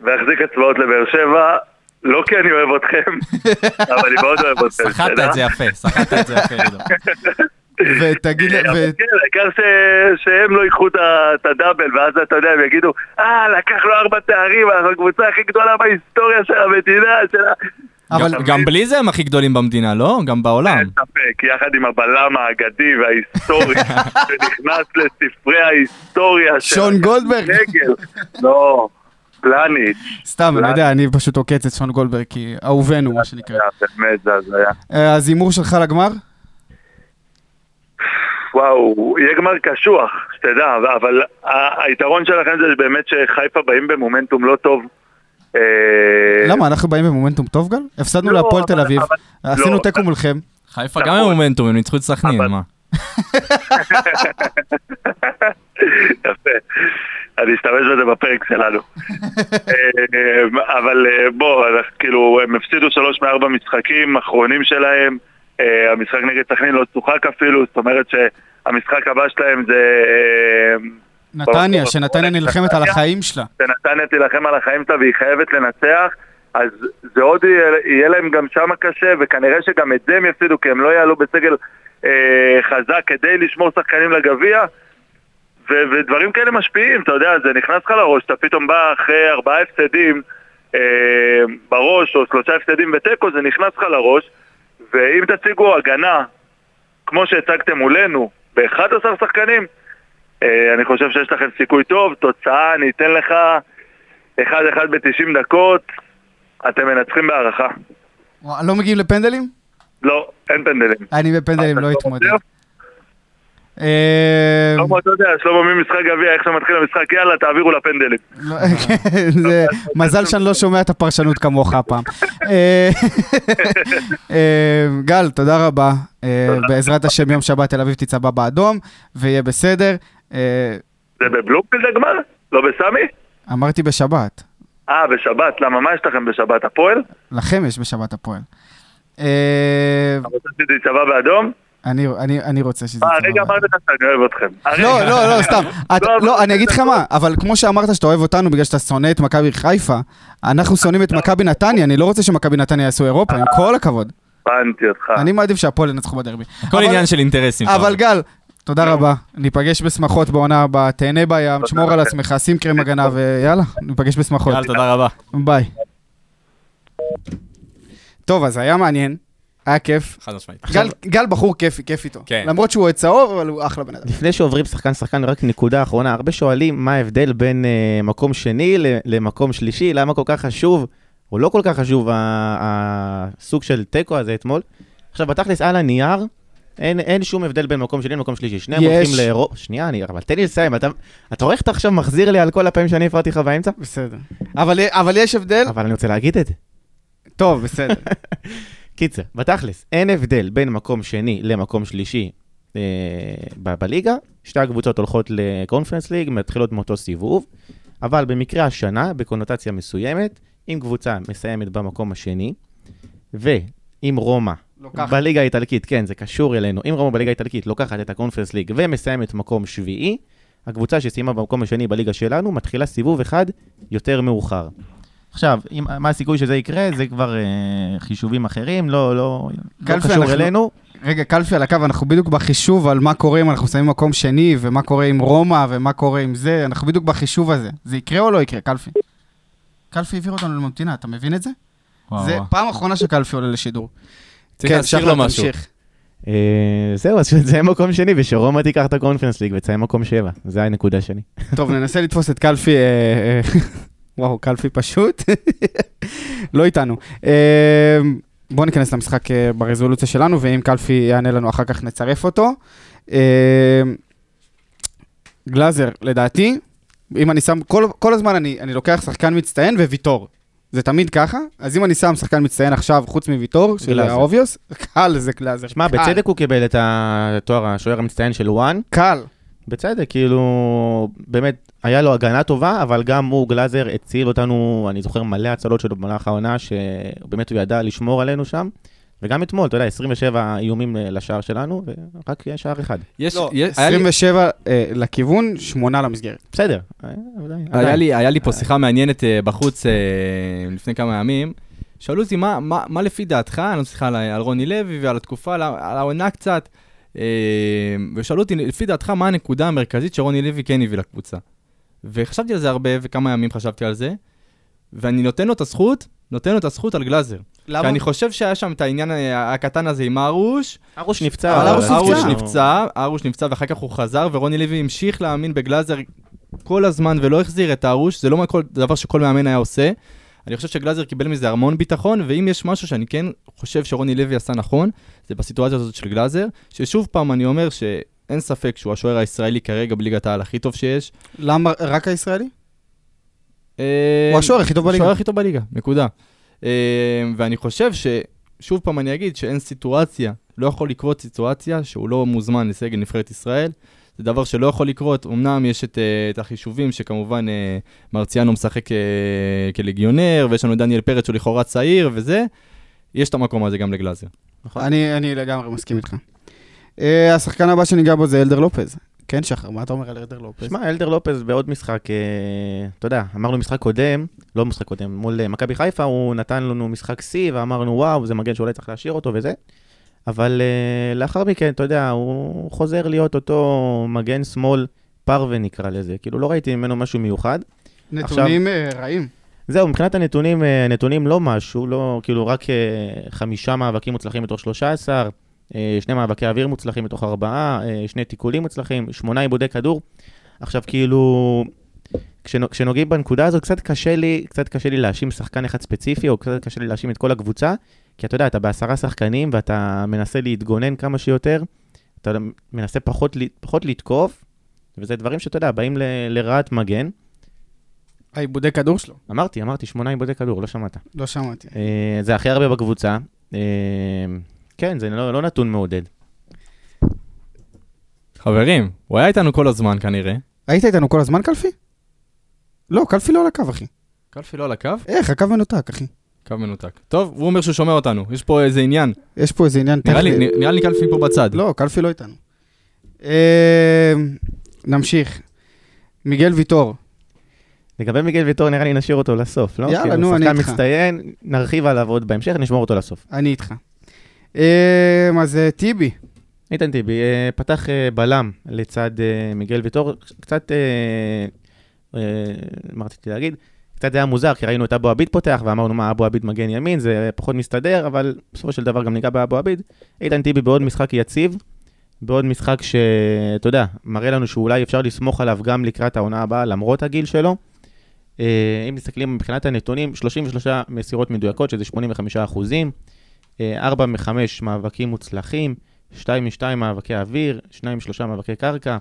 Speaker 7: ואחזיק אצבעות לבאר שבע, לא כי אני אוהב
Speaker 5: (laughs)
Speaker 7: אתכם, אבל אני מאוד אוהב אתכם.
Speaker 2: סחטת
Speaker 7: בסדר?
Speaker 2: את זה יפה, סחטת את זה יפה. עידו.
Speaker 7: (laughs)
Speaker 5: ותגיד, ל-
Speaker 7: אבל
Speaker 5: ו-
Speaker 7: כן, העיקר ש- שהם לא ייקחו את ה- את הדאבל, ואז אתה יודע, הם יגידו, אה, לקח לו ארבע תארים, אנחנו הקבוצה הכי גדולה בהיסטוריה של המדינה, של ה...
Speaker 5: אבל
Speaker 2: גם- גם בלי זה הם הכי גדולים במדינה, לא? גם בעולם.
Speaker 7: אין ספק, יחד עם הבלם האגדי
Speaker 5: (laughs)
Speaker 7: וההיסטורי, שנכנס לספרי ההיסטוריה של...
Speaker 5: שון גולדברג.
Speaker 7: רגל. לא, פלניץ'.
Speaker 5: סתם, אני יודע, אני פשוט עוקץ את שון גולדברג, כי אהובנו, מה שנקרא.
Speaker 7: באמת, זה הזיה.
Speaker 5: אה, אז הימור שלך לגמר?
Speaker 7: וואו, יהיה גמר קשוח, שתדע, אבל ה- היתרון שלכם זה באמת שחיפה באים במומנטום לא טוב. אה,
Speaker 5: למה, אנחנו באים במומנטום טוב, גל? הפסדנו
Speaker 7: לא,
Speaker 5: להפועל
Speaker 7: אבל-
Speaker 5: תל אביב,
Speaker 7: אבל-
Speaker 5: עשינו
Speaker 7: לא.
Speaker 5: תיקו מולכם.
Speaker 2: חיפה גם עם מומנטום, הם ניצחו את סכנין,
Speaker 7: אבל-
Speaker 2: מה?
Speaker 7: יפה. אני אשתמש בזה בפרק שלנו. אה, אבל אה, בוא, אנחנו- כאילו, הם הפסידו שלוש מארבע משחקים האחרונים שלהם. אה, המשחק נגד סכנין לא צוחק אפילו, זאת אומרת שהמשחק הבא שלהם זה... אה,
Speaker 5: נתניה,
Speaker 7: ברור,
Speaker 5: שנתניה
Speaker 7: ברור.
Speaker 5: נלחמת על החיים שלה.
Speaker 7: שנתניה תילחם על החיים שלה והיא חייבת לנצח, אז זה עוד יהיה, יהיה להם גם שם קשה, וכנראה שגם את זה הם יפסידו, כי הם לא יעלו בסגל אה, חזק כדי לשמור שחקנים לגביע, ו- ודברים כאלה משפיעים, אתה יודע, זה נכנס לך לראש, אתה פתאום בא אחרי ארבעה הפסדים אה, בראש, או שלושה הפסדים בתיקו, זה נכנס לך לראש, ואם תציגו הגנה, כמו שהצגתם מולנו, ב-11 שחקנים, אה, אני חושב שיש לכם סיכוי טוב, תוצאה, אני אתן לך 1-1 ב-90 דקות, אתם מנצחים בהערכה.
Speaker 5: וואו, לא מגיעים לפנדלים?
Speaker 7: לא, אין פנדלים. אה,
Speaker 5: אני בפנדלים לא אתמודד. אה,
Speaker 7: שלמה, אתה יודע, שלמה ממשחק גביע, איך שמתחיל המשחק, יאללה, תעבירו לפנדלים.
Speaker 5: לא, כן, זה- מזל שאני לא שומע את הפרשנות כמוך הפעם. אה, אה, גל, תודה רבה. אה, בעזרת השם, יום שבת תל אביב תצבע באדום, ויהיה בסדר. אה,
Speaker 7: זה בבלומפילד הגמר? לא בסמי?
Speaker 5: אמרתי בשבת.
Speaker 7: אה, בשבת, למה? מה יש לכם בשבת? הפועל?
Speaker 5: לכם יש בשבת הפועל. אה,
Speaker 7: אתה רוצה שתיצבע באדום?
Speaker 5: אני- אני אני רוצה שזה...
Speaker 7: אה,
Speaker 5: יצא
Speaker 7: הרגע
Speaker 5: מהבית.
Speaker 7: אמרתי לך שאני אוהב אתכם.
Speaker 5: לא,
Speaker 7: הרגע.
Speaker 5: לא, לא, סתם. את-
Speaker 7: לא, אבל-
Speaker 5: לא, אני אגיד לך מה, אבל כמו שאמרת שאתה אוהב אותנו בגלל שאתה שונא את מכבי חיפה, אנחנו שונאים את מכבי נתניה, אני לא רוצה שמכבי נתניה יעשו אירופה, עם כל הכבוד.
Speaker 7: הבנתי אותך.
Speaker 5: אני מעדיף שהפועל ינצחו בדרבי.
Speaker 2: כל
Speaker 5: אבל-
Speaker 2: עניין אוקיי. של אינטרסים.
Speaker 5: אבל גל, תודה רבה. ניפגש בשמחות בעונה הבאה, תהנה בים, תשמור על
Speaker 7: לכם.
Speaker 5: עצמך, שים קרם הגנה ויאללה, ניפגש בשמחות.
Speaker 2: יאללה, תודה רבה.
Speaker 5: ביי. טוב, אז היה מעניין, היה כיף.
Speaker 2: חד משמעית.
Speaker 5: גל- גל בחור כיפי, כיף איתו.
Speaker 2: כן.
Speaker 5: למרות שהוא עוד צהוב, אבל הוא אחלה בן
Speaker 2: (laughs)
Speaker 5: אדם.
Speaker 6: לפני שעוברים שחקן-שחקן, רק נקודה אחרונה, הרבה שואלים מה ההבדל בין uh, מקום שני ל- למקום שלישי, למה כל כך חשוב, או לא כל כך חשוב, ה- הסוג של תיקו הזה אתמול. עכשיו, בתכלס, על הנייר, אין, אין שום הבדל בין מקום שני למקום שלישי. שניהם
Speaker 5: יש.
Speaker 6: הולכים לאירופה... שנייה, אני, אבל תן לי לסיים, אתה, אתה רואה איך אתה עכשיו מחזיר לי על כל הפעמים שאני הפרעתי לך באמצע?
Speaker 5: בסדר. אבל אבל יש הבדל?
Speaker 6: אבל אני רוצה להגיד את זה.
Speaker 5: טוב, בסדר.
Speaker 6: קיצר, בתכלס, אין הבדל בין מקום שני למקום שלישי אה, ב- בליגה. שתי הקבוצות הולכות לקונפרנס ליג, מתחילות מאותו סיבוב, אבל במקרה השנה, בקונוטציה מסוימת, אם קבוצה מסיימת במקום השני, ואם רומא
Speaker 5: לוקחת.
Speaker 6: בליגה האיטלקית, כן, זה קשור אלינו, אם רומא בליגה האיטלקית לוקחת את הקונפרנס ליג ומסיימת מקום שביעי, הקבוצה שסיימה במקום השני בליגה שלנו מתחילה סיבוב אחד יותר מאוחר. עכשיו, אם, מה הסיכוי שזה יקרה, זה כבר אה, חישובים אחרים, לא, לא, לא
Speaker 5: קלפי,
Speaker 6: קשור
Speaker 5: אנחנו-
Speaker 6: אלינו.
Speaker 5: רגע, קלפי על הקו, אנחנו בדיוק בחישוב על מה קורה אם אנחנו שמים מקום שני, ומה קורה עם רומא, ומה קורה עם זה, אנחנו בדיוק בחישוב הזה. זה יקרה או לא יקרה, קלפי? קלפי העביר אותנו לממתינה, אתה מבין את זה? זה פעם אחרונה שקלפי עולה לשידור. כן,
Speaker 2: צריך להזכיר לו
Speaker 5: שחר,
Speaker 2: משהו.
Speaker 5: תמשיך.
Speaker 6: אה, זהו, אז שתסיים מקום שני, ושרומא תיקח את הקונפרנס ליג ותסיים מקום שבע. זה הנקודה שלי.
Speaker 5: טוב, ננסה לתפוס את קלפי, אה, אה, (laughs) וואו, קלפי פשוט. (laughs) לא איתנו. אה, בואו ניכנס למשחק אה, ברזולוציה שלנו, ואם קלפי יענה לנו אחר כך נצרף אותו. אה, גלאזר, לדעתי, אם אני שם, כל, כל הזמן אני, אני לוקח שחקן מצטיין וויטור. זה תמיד ככה, אז אם אני שם שחקן מצטיין עכשיו, חוץ מוויטור, שזה
Speaker 6: גלאזר.
Speaker 5: האוביוס, (laughs) קל זה גלאזר.
Speaker 6: שמע,
Speaker 5: קל,
Speaker 6: בצדק הוא קיבל את התואר השוער המצטיין של וואן.
Speaker 5: קל.
Speaker 6: בצדק, כאילו, באמת, היה לו הגנה טובה, אבל גם הוא, גלאזר, הציל אותנו, אני זוכר מלא הצלות שלו במהלך העונה, שבאמת הוא ידע לשמור עלינו שם. וגם אתמול, אתה יודע, 27 איומים אה, לשער שלנו, ורק יש שער אחד.
Speaker 2: יש,
Speaker 5: לא,
Speaker 2: יש- היה לי-
Speaker 5: 27 אה, לכיוון, 8 למסגרת.
Speaker 6: בסדר. אה, עדיין,
Speaker 2: היה
Speaker 6: עדיין.
Speaker 2: לי, היה לי פה שיחה מעניינת אה, בחוץ אה, לפני כמה ימים. שאלו אותי, מה, מה, מה לפי דעתך, אני לא צריכה על, על רוני לוי ועל התקופה, על, ה- על העונה קצת, אה, ושאלו אותי, לפי דעתך, מה הנקודה המרכזית שרוני לוי כן הביא לקבוצה? וחשבתי על זה הרבה, וכמה ימים חשבתי על זה, ואני נותן לו את הזכות, נותן לו את הזכות על גלאזר. כי אני חושב שהיה שם את העניין אה, הקטן הזה עם ארוש,
Speaker 6: ארוש נפצע.
Speaker 5: אבל
Speaker 2: אבל
Speaker 5: ארוש
Speaker 2: ארוש
Speaker 5: נפצע.
Speaker 2: נפצע, ארוש נפצע ואחר כך הוא חזר, ורוני לוי המשיך להאמין בגלאזר כל הזמן ולא החזיר את ארוש, זה לא כל דבר שכל מאמן היה עושה. אני חושב שגלאזר קיבל מזה המון ביטחון, ואם יש משהו שאני כן חושב שרוני לוי עשה נכון, זה בסיטואציה הזאת של גלאזר, ששוב פעם אני אומר שאין ספק שהוא השוער הישראלי כרגע בליגת העל הכי טוב שיש.
Speaker 5: למה, רק הישראלי?
Speaker 2: אה,
Speaker 5: הוא השוער הכי טוב בליגה.
Speaker 2: השוער הכי טוב בליגה, נקודה. אה, ואני חושב ש... שוב פעם אני אגיד שאין סיטואציה, לא יכול לקרות סיטואציה שהוא לא מוזמן לסגל נבחרת ישראל. זה דבר שלא יכול לקרות. אמנם יש את, אה, את החישובים שכמובן אה, מרציאנו משחק אה, כלגיונר, ויש לנו דניאל פרץ שהוא לכאורה צעיר וזה. יש את המקום הזה גם לגלאזר.
Speaker 6: נכון.
Speaker 5: אני, אני לגמרי מסכים איתך. אה, השחקן הבא שניגע בו זה אלדר לופז. כן, שחר, מה אתה אומר על אלדר לופז?
Speaker 6: שמע, אלדר לופז בעוד משחק, אה, אתה יודע, אמרנו משחק קודם, לא משחק קודם, מול אה, מכבי חיפה, הוא נתן לנו משחק שיא, ואמרנו, וואו, זה מגן שאולי צריך להשאיר אותו וזה. אבל אה, לאחר מכן, אתה יודע, הוא חוזר להיות אותו מגן שמאל פרווה נקרא לזה. כאילו, לא ראיתי ממנו משהו מיוחד.
Speaker 5: נתונים אה, רעים.
Speaker 6: זהו, מבחינת הנתונים, אה, נתונים לא משהו, לא, כאילו, רק אה, חמישה מאבקים מוצלחים מתוך 13, אה, שני מאבקי אוויר מוצלחים מתוך ארבעה, אה, שני תיקולים מוצלחים, שמונה עיבודי כדור. עכשיו, כאילו, כשנו- כשנוגעים בנקודה הזו, קצת קשה לי, קצת קשה לי להאשים שחקן אחד ספציפי, או קצת קשה לי להאשים את כל הקבוצה, כי אתה יודע, אתה בעשרה שחקנים ואתה מנסה להתגונן כמה שיותר, אתה מנסה פחות, ל- פחות לתקוף, וזה דברים שאתה יודע, באים ל, לרעת מגן.
Speaker 5: העיבודי כדור שלו.
Speaker 6: אמרתי, אמרתי, שמונה עיבודי כדור, לא שמעת.
Speaker 5: לא שמעתי.
Speaker 6: אה, זה הכי הרבה בקבוצה. אה, כן, זה לא, לא נתון מעודד.
Speaker 2: חברים, הוא היה איתנו כל הזמן כנראה.
Speaker 5: היית איתנו כל הזמן, קלפי? לא, קלפי לא על הקו, אחי.
Speaker 2: קלפי לא על הקו?
Speaker 5: איך, הקו מנותק, אחי.
Speaker 2: קו מנותק. טוב, הוא אומר שהוא שומע אותנו, יש פה איזה עניין.
Speaker 5: יש פה איזה עניין
Speaker 2: נראה לי-
Speaker 5: טכני.
Speaker 2: נראה לי קלפי פה בצד.
Speaker 5: לא, קלפי לא איתנו. אה, נמשיך. מיגל ויטור.
Speaker 6: לגבי מיגל ויטור, נראה לי נשאיר אותו לסוף, לא?
Speaker 5: יאללה,
Speaker 6: כאילו,
Speaker 5: נו, אני איתך.
Speaker 6: שחקן מצטיין, נרחיב עליו עוד בהמשך, נשמור אותו לסוף.
Speaker 5: אני איתך. אה, אז אה, טיבי.
Speaker 6: איתן טיבי אה, פתח אה, בלם לצד אה, מיגל ויטור, קצת, אה, אה, מה רציתי להגיד? קצת היה מוזר, כי ראינו את אבו עביד פותח, ואמרנו מה, אבו עביד מגן ימין, זה פחות מסתדר, אבל בסופו של דבר גם ניגע באבו עביד. איתן טיבי בעוד משחק יציב, בעוד משחק שאתה יודע, מראה לנו שאולי אפשר לסמוך עליו גם לקראת העונה הבאה, למרות הגיל שלו. אה, אם מסתכלים מבחינת הנתונים, 33 מסירות מדויקות, שזה 85 אחוזים, 4 מ-5 אה, מאבקים מוצלחים, 2 מ-2 מאבקי אוויר, 2 מ-3 מאבקי קרקע,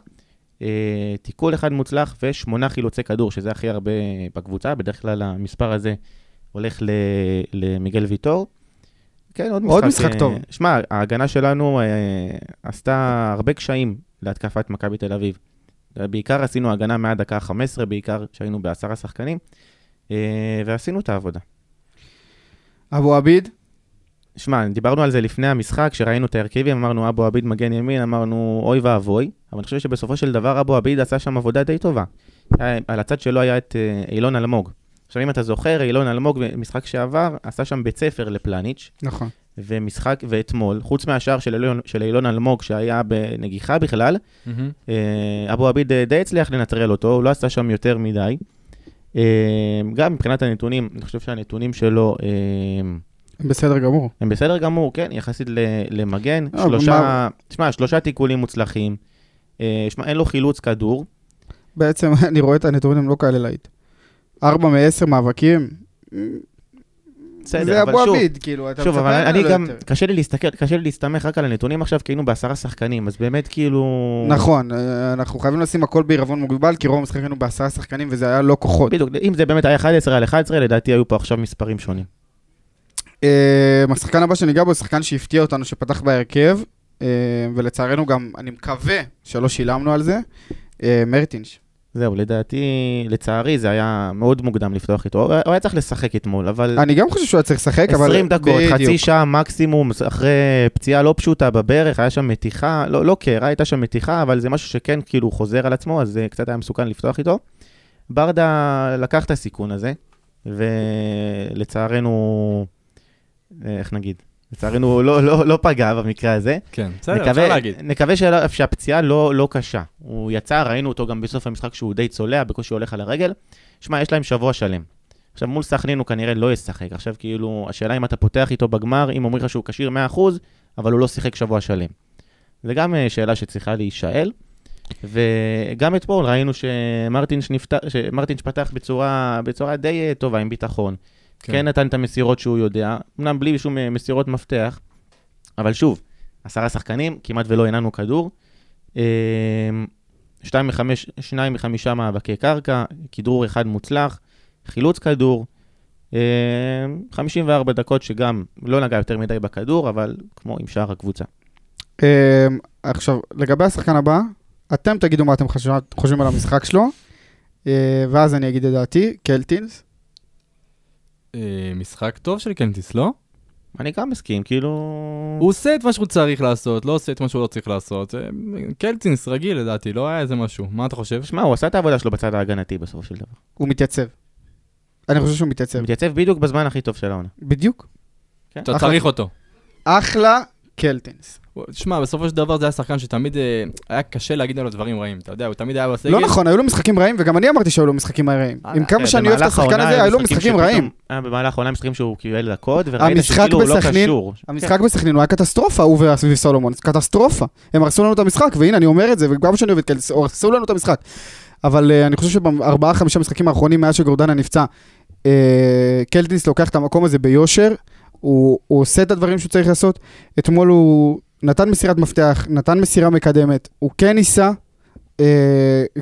Speaker 6: אה, תיקול אחד מוצלח ושמונה חילוצי כדור, שזה הכי הרבה בקבוצה, בדרך כלל המספר הזה הולך ל- למיגל ויטור. כן, עוד משחק.
Speaker 5: עוד משחק
Speaker 6: אה,
Speaker 5: טוב.
Speaker 6: שמע, ההגנה שלנו אה, עשתה הרבה קשיים להתקפת מכבי תל אביב. בעיקר עשינו הגנה מהדקה ה-15, בעיקר שהיינו בעשרה שחקנים, אה, ועשינו את העבודה.
Speaker 5: אבו עביד.
Speaker 6: שמע, דיברנו על זה לפני המשחק, שראינו את ההרכבים, אמרנו אבו עביד מגן ימין, אמרנו אוי ואבוי, אבל אני חושב שבסופו של דבר אבו עביד עשה שם עבודה די טובה. היה- על הצד שלו היה את אה, אילון אלמוג. עכשיו, אם אתה זוכר, אילון אלמוג במשחק שעבר עשה שם בית ספר לפלניץ',
Speaker 5: נכון.
Speaker 6: ומשחק, ואתמול, חוץ מהשער של אילון, של אילון אלמוג שהיה בנגיחה בכלל,
Speaker 2: מהמם.
Speaker 6: אה, אבו עביד אה, די הצליח לנטרל אותו, הוא לא עשה שם יותר מדי. אה, גם מבחינת הנתונים, אני חושב שהנתונים שלו... אה,
Speaker 5: בסדר גמור.
Speaker 6: הם בסדר גמור, כן, יחסית ל- למגן.
Speaker 5: אה,
Speaker 6: שלושה, תשמע, שלושה תיקולים מוצלחים. אה, שמע, אין לו חילוץ כדור.
Speaker 5: בעצם (laughs) אני רואה את הנתונים הם לא כאלה להיט. ארבע מעשר מאבקים.
Speaker 6: בסדר,
Speaker 5: זה
Speaker 6: אבל
Speaker 5: אבו
Speaker 6: שוב,
Speaker 5: עביד, כאילו, אתה
Speaker 6: שוב,
Speaker 5: מצפה
Speaker 6: אבל
Speaker 5: ממנו
Speaker 6: אני
Speaker 5: לא
Speaker 6: גם,
Speaker 5: יותר.
Speaker 6: קשה לי להסתכל, קשה לי להסתמך רק על הנתונים עכשיו, כי היינו בעשרה שחקנים, אז באמת כאילו...
Speaker 5: נכון, אה, אנחנו חייבים לשים הכל בעירבון מוגבל, כי רוב המשחקים היינו בעשרה שחקנים וזה היה לא כוחות.
Speaker 6: בדיוק, אם זה באמת היה 11 על 11, לדעתי היו פה עכשיו מספרים שונים.
Speaker 5: אה, השחקן הבא שניגע בו, שחקן שהפתיע אותנו, שפתח בהרכב, אה, ולצערנו גם, אני מקווה שלא שילמנו על זה, אה, מרטינש.
Speaker 6: זהו, לדעתי, לצערי, זה היה מאוד מוקדם לפתוח איתו. הוא היה- הוא היה צריך לשחק אתמול, אבל...
Speaker 5: אני גם חושב שהוא היה צריך לשחק, אבל...
Speaker 6: 20 אה, דקות, חצי
Speaker 5: בדיוק.
Speaker 6: שעה מקסימום, אחרי פציעה לא פשוטה בברך, היה שם מתיחה, לא, לא קרע, הייתה שם מתיחה, אבל זה משהו שכן כאילו חוזר על עצמו, אז זה קצת היה מסוכן לפתוח איתו. ברדה לקח את הסיכון הזה, ולצערנו, אה, איך נגיד? לצערנו הוא לא, לא, לא פגע במקרה הזה.
Speaker 2: כן, בסדר, אפשר להגיד.
Speaker 6: נקווה שלא- שהפציעה לא, לא קשה. הוא יצא, ראינו אותו גם בסוף המשחק שהוא די צולע, בקושי הולך על הרגל. שמע, יש להם שבוע שלם. עכשיו, מול סכנין הוא כנראה לא ישחק. עכשיו, כאילו, השאלה אם אתה פותח איתו בגמר, אם אומרים לך שהוא כשיר 100%, אבל הוא לא שיחק שבוע שלם. זה גם אה, שאלה שצריכה להישאל. וגם אתמול ראינו שמרטינש, נפת... שמרטינש פתח בצורה, בצורה די אה, טובה, עם ביטחון.
Speaker 2: כן.
Speaker 6: כן. כן נתן את המסירות שהוא יודע, אמנם בלי שום אה, מסירות מפתח, אבל שוב, עשרה שחקנים, כמעט ולא הנענו כדור. אה, שתיים מחמש, שניים מחמישה מאבקי קרקע, כדרור אחד מוצלח, חילוץ כדור, אה, 54 דקות שגם לא נגע יותר מדי בכדור, אבל כמו עם שאר הקבוצה.
Speaker 5: אה, עכשיו, לגבי השחקן הבא, אתם תגידו מה אתם חשוב- חושבים על המשחק שלו, אה, ואז אני אגיד את דעתי, קלטינס.
Speaker 2: אה, משחק טוב של קנטיס, לא?
Speaker 6: אני גם מסכים, כאילו...
Speaker 2: הוא עושה את מה שהוא צריך לעשות, לא עושה את מה שהוא לא צריך לעשות. אה, קלטינס רגיל לדעתי, לא היה איזה משהו. מה אתה חושב?
Speaker 6: שמע, הוא עשה את העבודה שלו בצד ההגנתי בסופו של דבר.
Speaker 5: הוא מתייצב. אני חושב שהוא מתייצב.
Speaker 6: הוא מתייצב בדיוק בזמן הכי טוב של העונה.
Speaker 5: בדיוק.
Speaker 2: אתה
Speaker 5: אחלה.
Speaker 2: צריך אותו.
Speaker 5: אחלה קלטינס.
Speaker 2: הוא- תשמע, בסופו של דבר זה היה שחקן שתמיד אה, היה קשה להגיד עליו דברים רעים, אתה יודע, הוא תמיד היה בסגל.
Speaker 5: לא נכון, היו לו משחקים רעים, וגם אני אמרתי שהיו לו משחקים רעים. עם כמה שאני אוהב את
Speaker 6: אה, במהלך
Speaker 5: השחקן
Speaker 6: העונה
Speaker 5: הזה, היו לו
Speaker 6: משחקים
Speaker 5: משחקים
Speaker 6: שפתאום-
Speaker 5: רעים.
Speaker 6: היה במהלך העונה משחקים שהוא קיבל דקות, וראית
Speaker 5: המשחק
Speaker 6: שכאילו הוא לא
Speaker 5: בסכנין-
Speaker 6: קשור.
Speaker 5: המשחק בסכנין הוא היה קטסטרופה, הוא ואביב סולומון, קטסטרופה. הם הרסו לנו את המשחק, והנה, אני אומר את זה, וגם שאני אוהב את קלס, הרסו לנו את המשחק. אבל אה, אני חושב שבארבעה-חמישה משחקים האחרונים, מאז שגורדנה נפצע, אה, קלטינס לוקח את המקום הזה ביושר, הוא, הוא עושה את הדברים שהוא צריך לעשות. אתמול הוא נתן מסירת מפתח, נתן מסירה מקדמת, הוא כן ניסה, אה,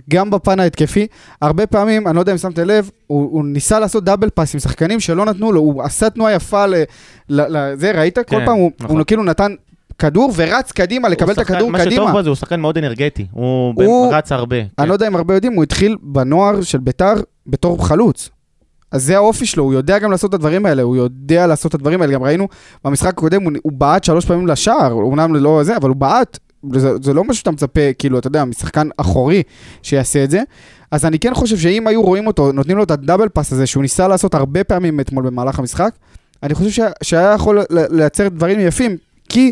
Speaker 5: גם בפן ההתקפי. הרבה פעמים, אני לא יודע אם שמתם לב, הוא, הוא ניסה לעשות דאבל פאס עם שחקנים שלא נתנו לו, הוא עשה תנועה יפה ל... ל, ל זה, ראית? כל
Speaker 6: כן,
Speaker 5: פעם הוא,
Speaker 6: נכון.
Speaker 5: הוא כאילו נטן כדור ורץ קדימה לקבל את
Speaker 6: הוא שחקן-
Speaker 5: הכדור
Speaker 6: מה שטוב
Speaker 5: קדימה.
Speaker 6: בו זה הוא שחקן מאוד אנרגטי, הוא
Speaker 5: הוא-
Speaker 6: ב- רץ הרבה. כן,
Speaker 5: לא אני לא יודע אם הרבה יודעים, הוא התחיל בנוער של ביתר בתור חלוץ. אז זה האופי שלו, הוא יודע גם לעשות את הדברים האלה, הוא יודע לעשות את הדברים האלה. גם ראינו במשחק הקודם, הוא, הוא בעט שלוש פעמים לשער, אומנם לא זה, אבל הוא בעט. זה, זה לא משהו שאתה מצפה, כאילו, אתה יודע, משחקן אחורי שיעשה את זה. אז אני כן חושב שאם היו רואים אותו, נותנים לו את הדאבל פאס הזה, שהוא ניסה לעשות הרבה פעמים אתמול במהלך המשחק, אני חושב שה- שהיה יכול ל- לייצר דברים יפים, כי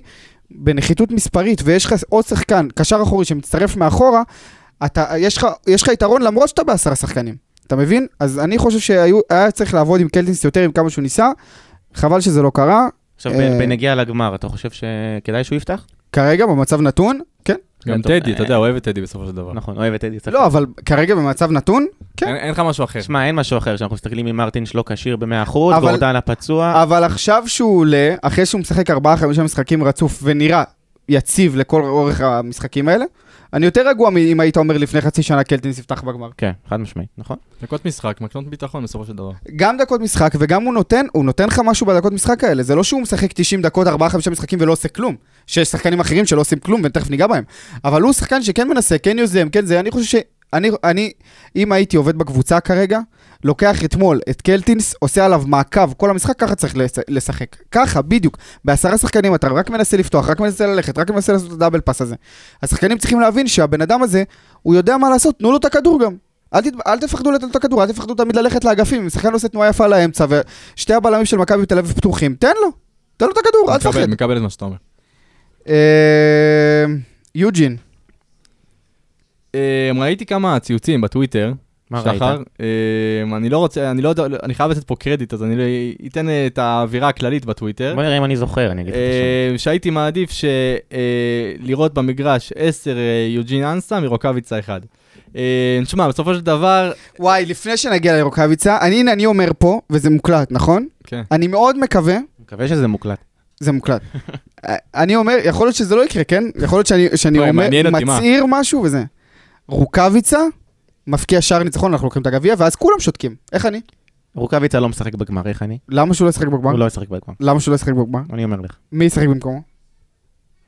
Speaker 5: בנחיתות מספרית, ויש לך עוד שחקן, קשר אחורי שמצטרף מאחורה, אתה, יש, לך, יש לך יתרון למרות שאתה בעשרה שחקנים. אתה מבין? אז אני חושב שהיה צריך לעבוד עם קלטינס יותר עם כמה שהוא ניסה, חבל שזה לא קרה.
Speaker 6: עכשיו,
Speaker 5: אה,
Speaker 6: בן- בן הגיע לגמר, אתה חושב שכדאי שהוא יפתח?
Speaker 5: כרגע במצב נתון, כן.
Speaker 2: גם
Speaker 6: טוב.
Speaker 2: טדי, אתה יודע, אוהב את טדי בסופו של דבר.
Speaker 6: נכון, אוהב את אדי צחק.
Speaker 5: לא, אבל כרגע במצב נתון, כן.
Speaker 2: אין אין לך משהו אחר.
Speaker 6: שמע, אין משהו אחר, שאנחנו מסתכלים אם מרטינש לא כשיר ב-100%,
Speaker 5: אבל-
Speaker 6: גורדנה פצוע.
Speaker 5: אבל עכשיו שהוא עולה, אחרי שהוא משחק 4-5 משחקים רצוף ונראה יציב לכל אורך המשחקים האלה, אני יותר רגוע מאם היית אומר לפני חצי שנה קלטינס יפתח בגמר.
Speaker 6: כן, חד משמעי, נכון?
Speaker 2: דקות משחק, מקנות ביטחון בסופו של דבר.
Speaker 5: גם דקות משחק וגם הוא נותן, הוא נותן לך משהו בדקות משחק האלה. זה לא שהוא משחק 90 דקות, 4-5 משחקים ולא עושה כלום. שיש שחקנים אחרים שלא עושים כלום ותכף ניגע בהם. אבל הוא שחקן שכן מנסה, כן יוזם, כן זה, אני חושב ש... אני, אני, אם הייתי עובד בקבוצה כרגע, לוקח אתמול את קלטינס, עושה עליו מעקב, כל המשחק ככה צריך לש- לשחק. ככה, בדיוק. בעשרה שחקנים אתה רק מנסה לפתוח, רק מנסה ללכת, רק מנסה לעשות את הדאבל פאס הזה. השחקנים צריכים להבין שהבן אדם הזה, הוא יודע מה לעשות, תנו לו את הכדור גם. אל, תת... אל תפחדו לתת לו את הכדור, אל תפחדו תמיד ללכת לאגפים. אם שחקן עושה תנועה יפה לאמצע ושתי הבלמים של מכבי תל אביב פתוחים, תן לו, תן לו את הכדור, אל
Speaker 2: מקבל-
Speaker 5: תפחד.
Speaker 2: מקבל את מה שאתה אומר.
Speaker 5: אה, יוג'ין,
Speaker 2: אמ, ראיתי כמה ציוצים בטוויטר.
Speaker 6: מה ראית?
Speaker 2: שחר, אמ, אני לא רוצה, אני לא יודע, אני חייב לתת פה קרדיט, אז אני לא- אתן אה, את האווירה הכללית בטוויטר.
Speaker 6: בוא נראה אם אני זוכר, אני אגיד לך שם.
Speaker 2: אה, שהייתי מעדיף ש- אה, לראות במגרש 10 יוג'ין אנסה מרוקאביצה 1. תשמע, בסופו של דבר,
Speaker 5: וואי, לפני שנגיע לרוקאביצה, אני, הנה, אני אומר פה, וזה מוקלט, נכון?
Speaker 2: כן.
Speaker 5: אני מאוד מקווה,
Speaker 6: מקווה שזה מוקלט.
Speaker 5: זה
Speaker 2: (laughs)
Speaker 5: מוקלט. אה, אני אומר, יכול להיות שזה לא יקרה, כן? יכול להיות שאני, שאני
Speaker 2: וואי,
Speaker 5: אומר,
Speaker 2: מעניין אותי, מה?
Speaker 5: מצהיר משהו וזה. רוקאביצה, מפקיע שער ניצחון, אנחנו לוקחים את הגביע, ואז כולם שותקים. איך אני?
Speaker 6: רוקאביצה לא משחק בגמר, איך אני?
Speaker 5: למה שהוא לא ישחק בגמר?
Speaker 6: הוא לא ישחק בגמר,
Speaker 5: למה שהוא לא ישחק בגמר?
Speaker 6: אני אומר לך.
Speaker 5: מי ישחק במקומו?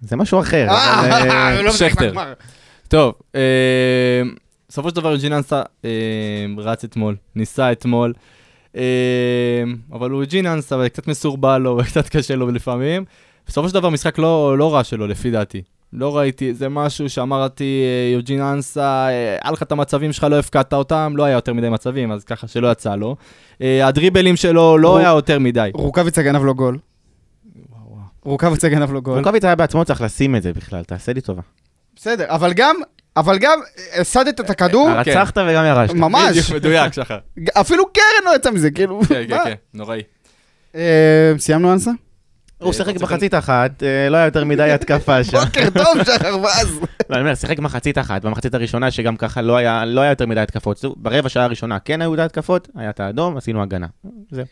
Speaker 6: זה משהו אחר. אבל, אה,
Speaker 5: אה, הוא לא משחק
Speaker 2: שכטר.
Speaker 5: בגמר.
Speaker 2: טוב, אמ, בסופו של דבר יוג'ין אנסה אמ, רץ אתמול, ניסה אתמול, אמ, אבל הוא יוג'ין אנסה וקצת מסורבל לו (laughs) וקצת קשה לו לפעמים. בסופו של דבר משחק לא, לא רע שלו לפי דעתי. לא ראיתי, זה משהו שאמרתי, אה, יוג'ין אנסה, אה, היה לך את המצבים שלך, לא הפקדת אותם, לא היה יותר מדי מצבים, אז ככה שלא יצא לו. אה, הדריבלים שלו לא
Speaker 5: הוא-
Speaker 2: היה יותר מדי.
Speaker 5: רוקאביצה גנב לו גול. רוקאביצה גנב לו גול.
Speaker 6: אה, רוקאביצה היה בעצמו צריך לשים את זה בכלל, תעשה לי טובה.
Speaker 5: בסדר, אבל גם, אבל גם, הסדת את הכדור,
Speaker 6: רצחת וגם ירשת.
Speaker 5: ממש.
Speaker 2: בדיוק, מדויק, שחר.
Speaker 5: אפילו קרן לא יצא מזה, כאילו.
Speaker 2: כן, כן,
Speaker 5: מה?
Speaker 2: כן, נוראי.
Speaker 5: אה, סיימנו אנסה?
Speaker 6: הוא שיחק מחצית אחת, אה, לא היה
Speaker 5: (laughs)
Speaker 6: יותר מדי התקפה שם.
Speaker 5: בוקר טוב, שחר ואז.
Speaker 6: לא, אני אומר, שיחק מחצית אחת, במחצית הראשונה שגם ככה לא היה לא היה יותר מדי התקפות. זהו, ברבע שעה הראשונה כן היו את ההתקפות, היה את האדום, עשינו הגנה. זהו.